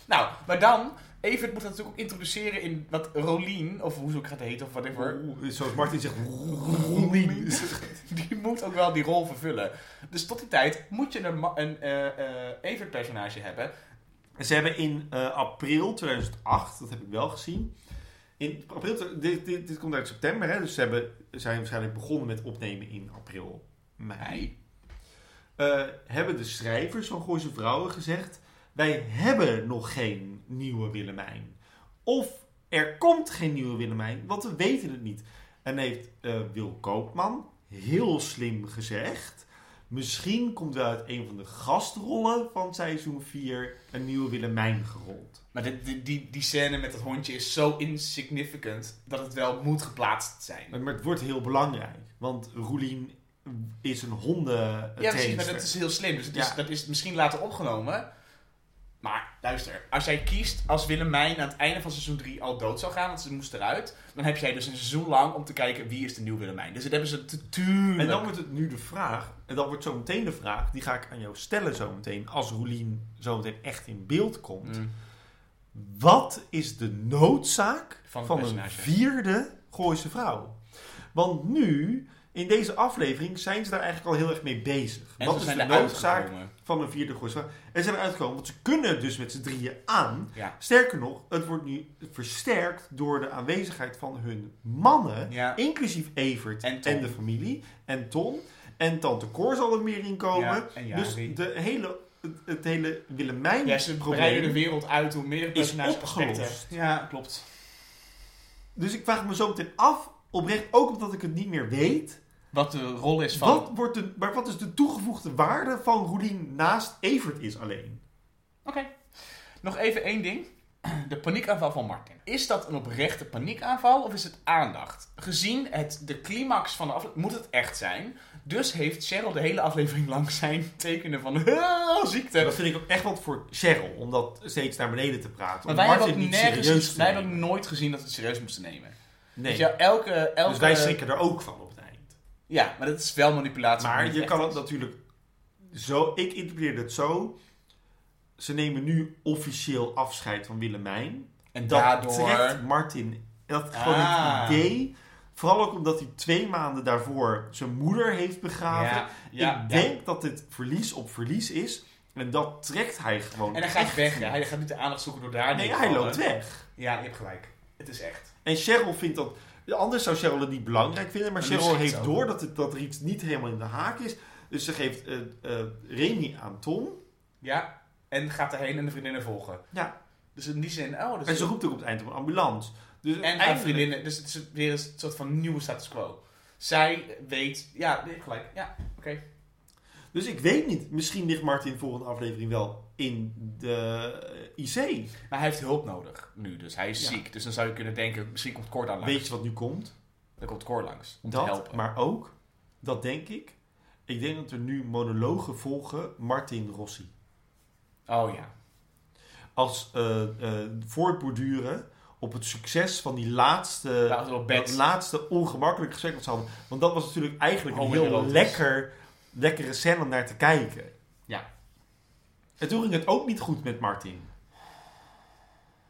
S1: Nou, maar dan, Evert moet dat natuurlijk ook introduceren in wat Rolien, of hoe ze ook gaat heten, of whatever.
S2: Oeh, Zoals Martin zegt, Roelien.
S1: Die moet ook wel die rol vervullen. Dus tot die tijd moet je een, ma- een eh, eh, Evert-personage hebben.
S2: En Ze hebben in eh, april 2008, dat heb ik wel gezien. In april, dit, dit, dit komt uit september, hè, dus ze hebben, zijn waarschijnlijk begonnen met opnemen in april, mei.
S1: Hij.
S2: Eh, hebben de schrijvers van Gooise Vrouwen gezegd: Wij hebben nog geen nieuwe Willemijn. Of er komt geen nieuwe Willemijn, want we weten het niet. En heeft eh, Wil Koopman heel slim gezegd: Misschien komt wel uit een van de gastrollen van seizoen 4 een nieuwe Willemijn gerold.
S1: Maar dit- die, die, die scène met dat hondje is zo insignificant dat het wel moet geplaatst zijn.
S2: Maar het wordt heel belangrijk, want Roelien is een honden.
S1: Ja, precies, maar dat is heel slim. Dus het is,
S2: Ja.
S1: dat is misschien later opgenomen. Maar luister, als jij kiest als Willemijn aan het einde van seizoen 3 al dood zou gaan, want ze moest eruit, dan heb jij dus een seizoen lang om te kijken wie is de nieuwe Willemijn. Dus dat hebben ze natuurlijk.
S2: En dan wordt het nu de vraag, en dan wordt zo meteen de vraag, die ga ik aan jou stellen zo meteen, als Roelien zo meteen echt in beeld komt.
S1: Mm.
S2: Wat is de noodzaak
S1: Van
S2: van,
S1: het
S2: een
S1: personage.
S2: vierde Gooise vrouw? Want nu, in deze aflevering, zijn ze daar eigenlijk al heel erg mee bezig.
S1: En
S2: Wat
S1: ze
S2: is
S1: zijn
S2: de
S1: eruit
S2: noodzaak
S1: gekomen.
S2: van een vierde Gooise vrouw? En ze zijn eruit gekomen, want ze kunnen dus met z'n drieën aan.
S1: Ja.
S2: Sterker nog, het wordt nu versterkt door de aanwezigheid van hun mannen,
S1: Ja.
S2: inclusief Evert
S1: En
S2: en,
S1: Tom.
S2: de familie en Tom. En Tante Cor zal er meer in komen.
S1: Ja, en Jari.
S2: dus de hele, het, het hele Willemijn
S1: Ja, ze breiden de wereld uit hoe meer personages
S2: opgelost.
S1: aspecten. Ja, klopt.
S2: Dus ik vraag me zo meteen af, oprecht ook omdat ik het niet meer weet.
S1: Wat de rol is van.
S2: Wat, wordt de, maar wat is de toegevoegde waarde van Roelien naast Evert is alleen?
S1: Oké. Nog even één ding. De paniekaanval van Martin. Is dat een oprechte paniekaanval of is het aandacht? Gezien het, de climax van de aflevering moet het echt zijn. Dus heeft Cheryl de hele aflevering lang zijn tekenen van "Ah, ziekte.
S2: Dat vind ik ook echt wat voor Cheryl, om dat steeds naar beneden te praten.
S1: maar
S2: Om
S1: wij hebben ook
S2: Martin niet
S1: nergens,
S2: serieus te
S1: wij hebben ook
S2: nemen.
S1: nooit gezien dat we het serieus moesten nemen.
S2: Nee.
S1: Weet je, wel, elke, elke,
S2: Dus wij schrikken er ook van op het eind.
S1: Ja, maar dat is wel manipulatie. die
S2: Maar je
S1: echt
S2: kan
S1: is.
S2: het natuurlijk zo... Ik interpreteer het zo. Ze nemen nu officieel afscheid van Willemijn.
S1: En
S2: Dat
S1: daardoor...
S2: trekt Martin... Dat is gewoon
S1: Ah.
S2: het idee Vooral ook omdat hij twee maanden daarvoor zijn moeder heeft begraven.
S1: Ja, ja,
S2: ik
S1: ja.
S2: denk dat dit verlies op verlies is. En dat trekt hij gewoon.
S1: En hij gaat
S2: echt
S1: weg.
S2: niet.
S1: hè. Hij gaat niet de aandacht zoeken door daar
S2: Nee,
S1: neer te
S2: hij
S1: vallen.
S2: loopt weg.
S1: Ja, je hebt gelijk. Het is echt.
S2: En Cheryl vindt dat... Anders zou Cheryl het niet belangrijk vinden. Maar
S1: Maar nu
S2: Cheryl
S1: schiet ze
S2: heeft
S1: ook.
S2: door dat, het, dat er iets niet helemaal in de haak is. Dus ze geeft eh eh, Remy aan Tom.
S1: Ja. En gaat erheen en de vriendinnen volgen.
S2: Ja.
S1: Dus in die zin, oh, dat
S2: En
S1: is
S2: ze roept ook op het eind om een ambulance. Dus
S1: En haar
S2: uiteindelijk-
S1: vriendinnen. Dus het is weer een soort van nieuwe status quo. Zij weet... Ja, nee, gelijk. Ja, oké.
S2: Dus ik weet niet. Misschien ligt Martin volgende aflevering wel in de eh, IC.
S1: Maar hij heeft hulp nodig nu dus. Hij is
S2: Ja.
S1: ziek. Dus dan zou je kunnen denken, misschien komt Cor dan langs.
S2: Weet je wat nu komt?
S1: Dan komt Cor langs. Om
S2: dat,
S1: te helpen.
S2: maar ook, dat denk ik. Ik denk dat er nu monologen volgen Martin Rossi.
S1: Oh ja.
S2: Als eh, eh, voortborduren op het succes van die laatste,
S1: Dat was wel bad.
S2: Eh, dat laatste ongemakkelijk gesprek dat ze hadden. Want dat was natuurlijk eigenlijk een
S1: Oh,
S2: heel
S1: erotisch.
S2: lekker, lekkere scène om naar te kijken.
S1: Ja.
S2: En toen ging het ook niet goed met Martin.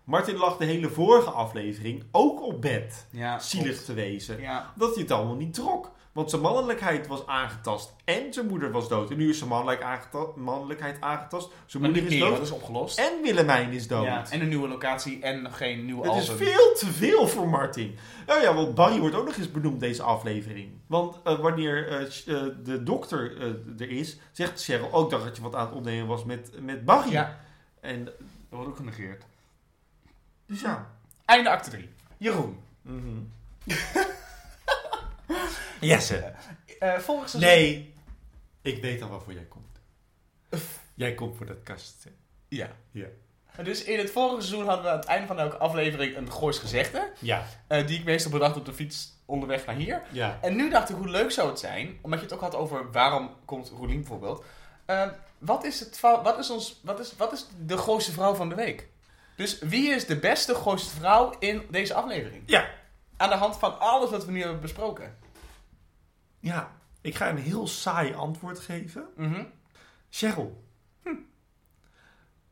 S2: Martin lag de hele vorige aflevering ook op bed.
S1: Ja.
S2: Zielig
S1: klopt.
S2: te wezen.
S1: Ja.
S2: dat hij het allemaal niet trok. Want zijn mannelijkheid was aangetast en zijn moeder was dood. En nu is zijn mannelijk aangeta- mannelijkheid aangetast. Zijn
S1: Maar
S2: moeder
S1: niet
S2: is
S1: meer, dat
S2: dood
S1: is opgelost.
S2: en Willemijn is dood.
S1: Ja, en een nieuwe locatie en nog geen nieuw
S2: Het
S1: album.
S2: is veel te veel voor Martin. Nou ja, want Barry wordt ook nog eens benoemd deze aflevering. Want eh, wanneer eh, Sh- eh, de dokter eh, er is, zegt Cheryl ook dat je wat aan het opnemen was met, met Barry.
S1: Ja,
S2: En
S1: dat wordt ook genegeerd.
S2: dus ja. Mhm.
S1: Einde acte 3. Jeroen.
S2: Jesse.
S1: eh, volgens seizoen-
S2: Nee, ik weet al waarvoor jij komt. Jij komt voor dat kastje.
S1: Ja.
S2: Ja.
S1: Dus in het vorige seizoen hadden we aan het einde van elke aflevering een Goois gezegde.
S2: Ja.
S1: eh, die ik meestal bedacht op de fiets onderweg naar hier.
S2: Ja.
S1: En nu dacht ik, hoe leuk zou het zijn, omdat je het ook had over waarom komt Roelien bijvoorbeeld. eh, wat, is het, va- wat, is ons, wat, is, wat is de Gooise vrouw van de week? Dus wie is de beste Gooise vrouw in deze aflevering?
S2: Ja.
S1: Aan de hand van alles wat we nu hebben besproken.
S2: Ja, ik ga een heel saai antwoord geven.
S1: Mhm.
S2: Cheryl. Hm.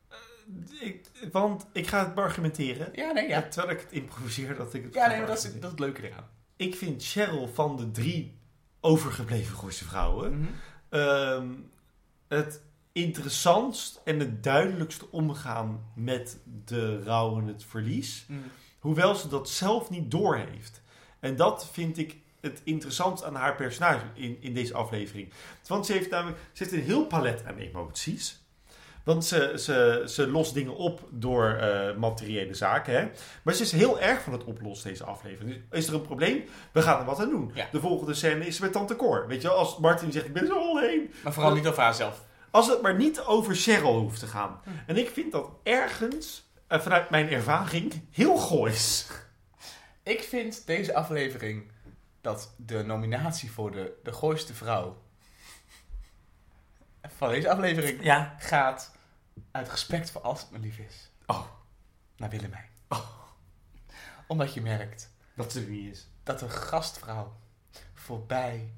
S2: Eh, ik, want ik ga het argumenteren.
S1: Ja, nee, ja.
S2: Terwijl ik het improviseer dat ik het
S1: Ja,
S2: ga
S1: nee, maar dat is, dat
S2: beargumenteren.
S1: is het leuke eraan.
S2: Ik vind Cheryl van de drie overgebleven Gooise vrouwen...
S1: Mhm.
S2: ehm, het interessantst en het duidelijkst omgaan met de rouw en het verlies.
S1: Mhm.
S2: Hoewel ze dat zelf niet doorheeft. En dat vind ik het interessant aan haar personage in, in deze aflevering. Want ze heeft namelijk ze heeft een heel palet aan emoties. Want ze, ze, ze lost dingen op door eh, materiële zaken. Hè? Maar ze is heel erg van het oplossen, deze aflevering. Dus is er een probleem? We gaan er wat aan doen.
S1: Ja.
S2: De volgende scène is met Tante Cor. Weet je, wel, als Martin zegt: Ik ben zo alleen.
S1: Maar vooral niet over haarzelf.
S2: Als het maar niet over Cheryl hoeft te gaan. En ik vind dat ergens, eh, vanuit mijn ervaring, heel goois.
S1: Ik vind deze aflevering dat de nominatie voor de, de gooiste vrouw van deze aflevering
S2: Ja.
S1: gaat uit respect voor als het me lief is.
S2: Oh.
S1: Naar Willemijn. Omdat je merkt
S2: Dat ze er niet is.
S1: dat een gastvrouw voorbij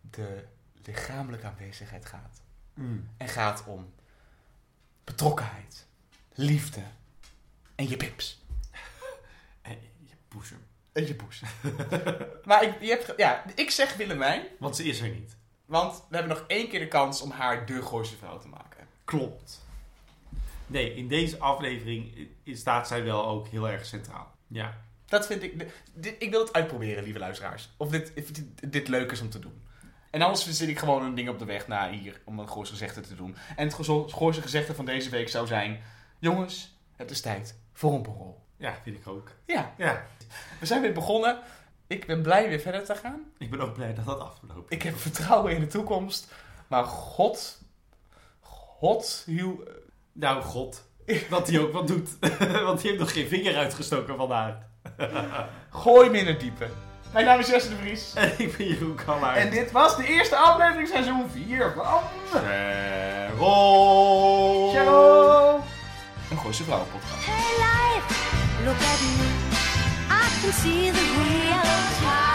S1: de lichamelijke aanwezigheid gaat.
S2: Mm.
S1: En gaat om betrokkenheid, liefde en je pips.
S2: En je poes hem.
S1: En je poes. maar ik, je hebt, ge- ja, ik zeg Willemijn,
S2: Want ze is er niet.
S1: want we hebben nog één keer de kans om haar de gooise vrouw te maken.
S2: Klopt. Nee, in deze aflevering i- i- staat zij wel ook heel erg centraal. Ja.
S1: Dat vind ik. Dit, ik wil het uitproberen, lieve luisteraars. Of dit, of dit, dit leuk is om te doen. En anders verzin ik gewoon een ding op de weg naar hier om een Gooise gezegde te doen. En het gezo- Gooise gezegde van deze week zou zijn: Jongens, het is tijd voor een borrel.
S2: Ja, vind ik ook.
S1: Ja,
S2: Ja.
S1: we zijn weer begonnen. Ik ben blij weer verder te gaan.
S2: Ik ben ook blij dat dat afgelopen
S1: Ik heb vertrouwen in de toekomst. Maar god. God. Hiel,
S2: Nou, god. Wat hij ook wat doet. Want hij heeft nog geen vinger uitgestoken vandaag.
S1: gooi me in het diepe. Mijn naam is Jesse de Vries.
S2: En ik ben Jeroen Kallaert.
S1: En dit was de eerste aflevering seizoen 4 van...
S2: Cheryl.
S1: Ciao! Eh, Een Gooise Vrouwenpodcast.
S3: Hey life, look at me. I can see the real time.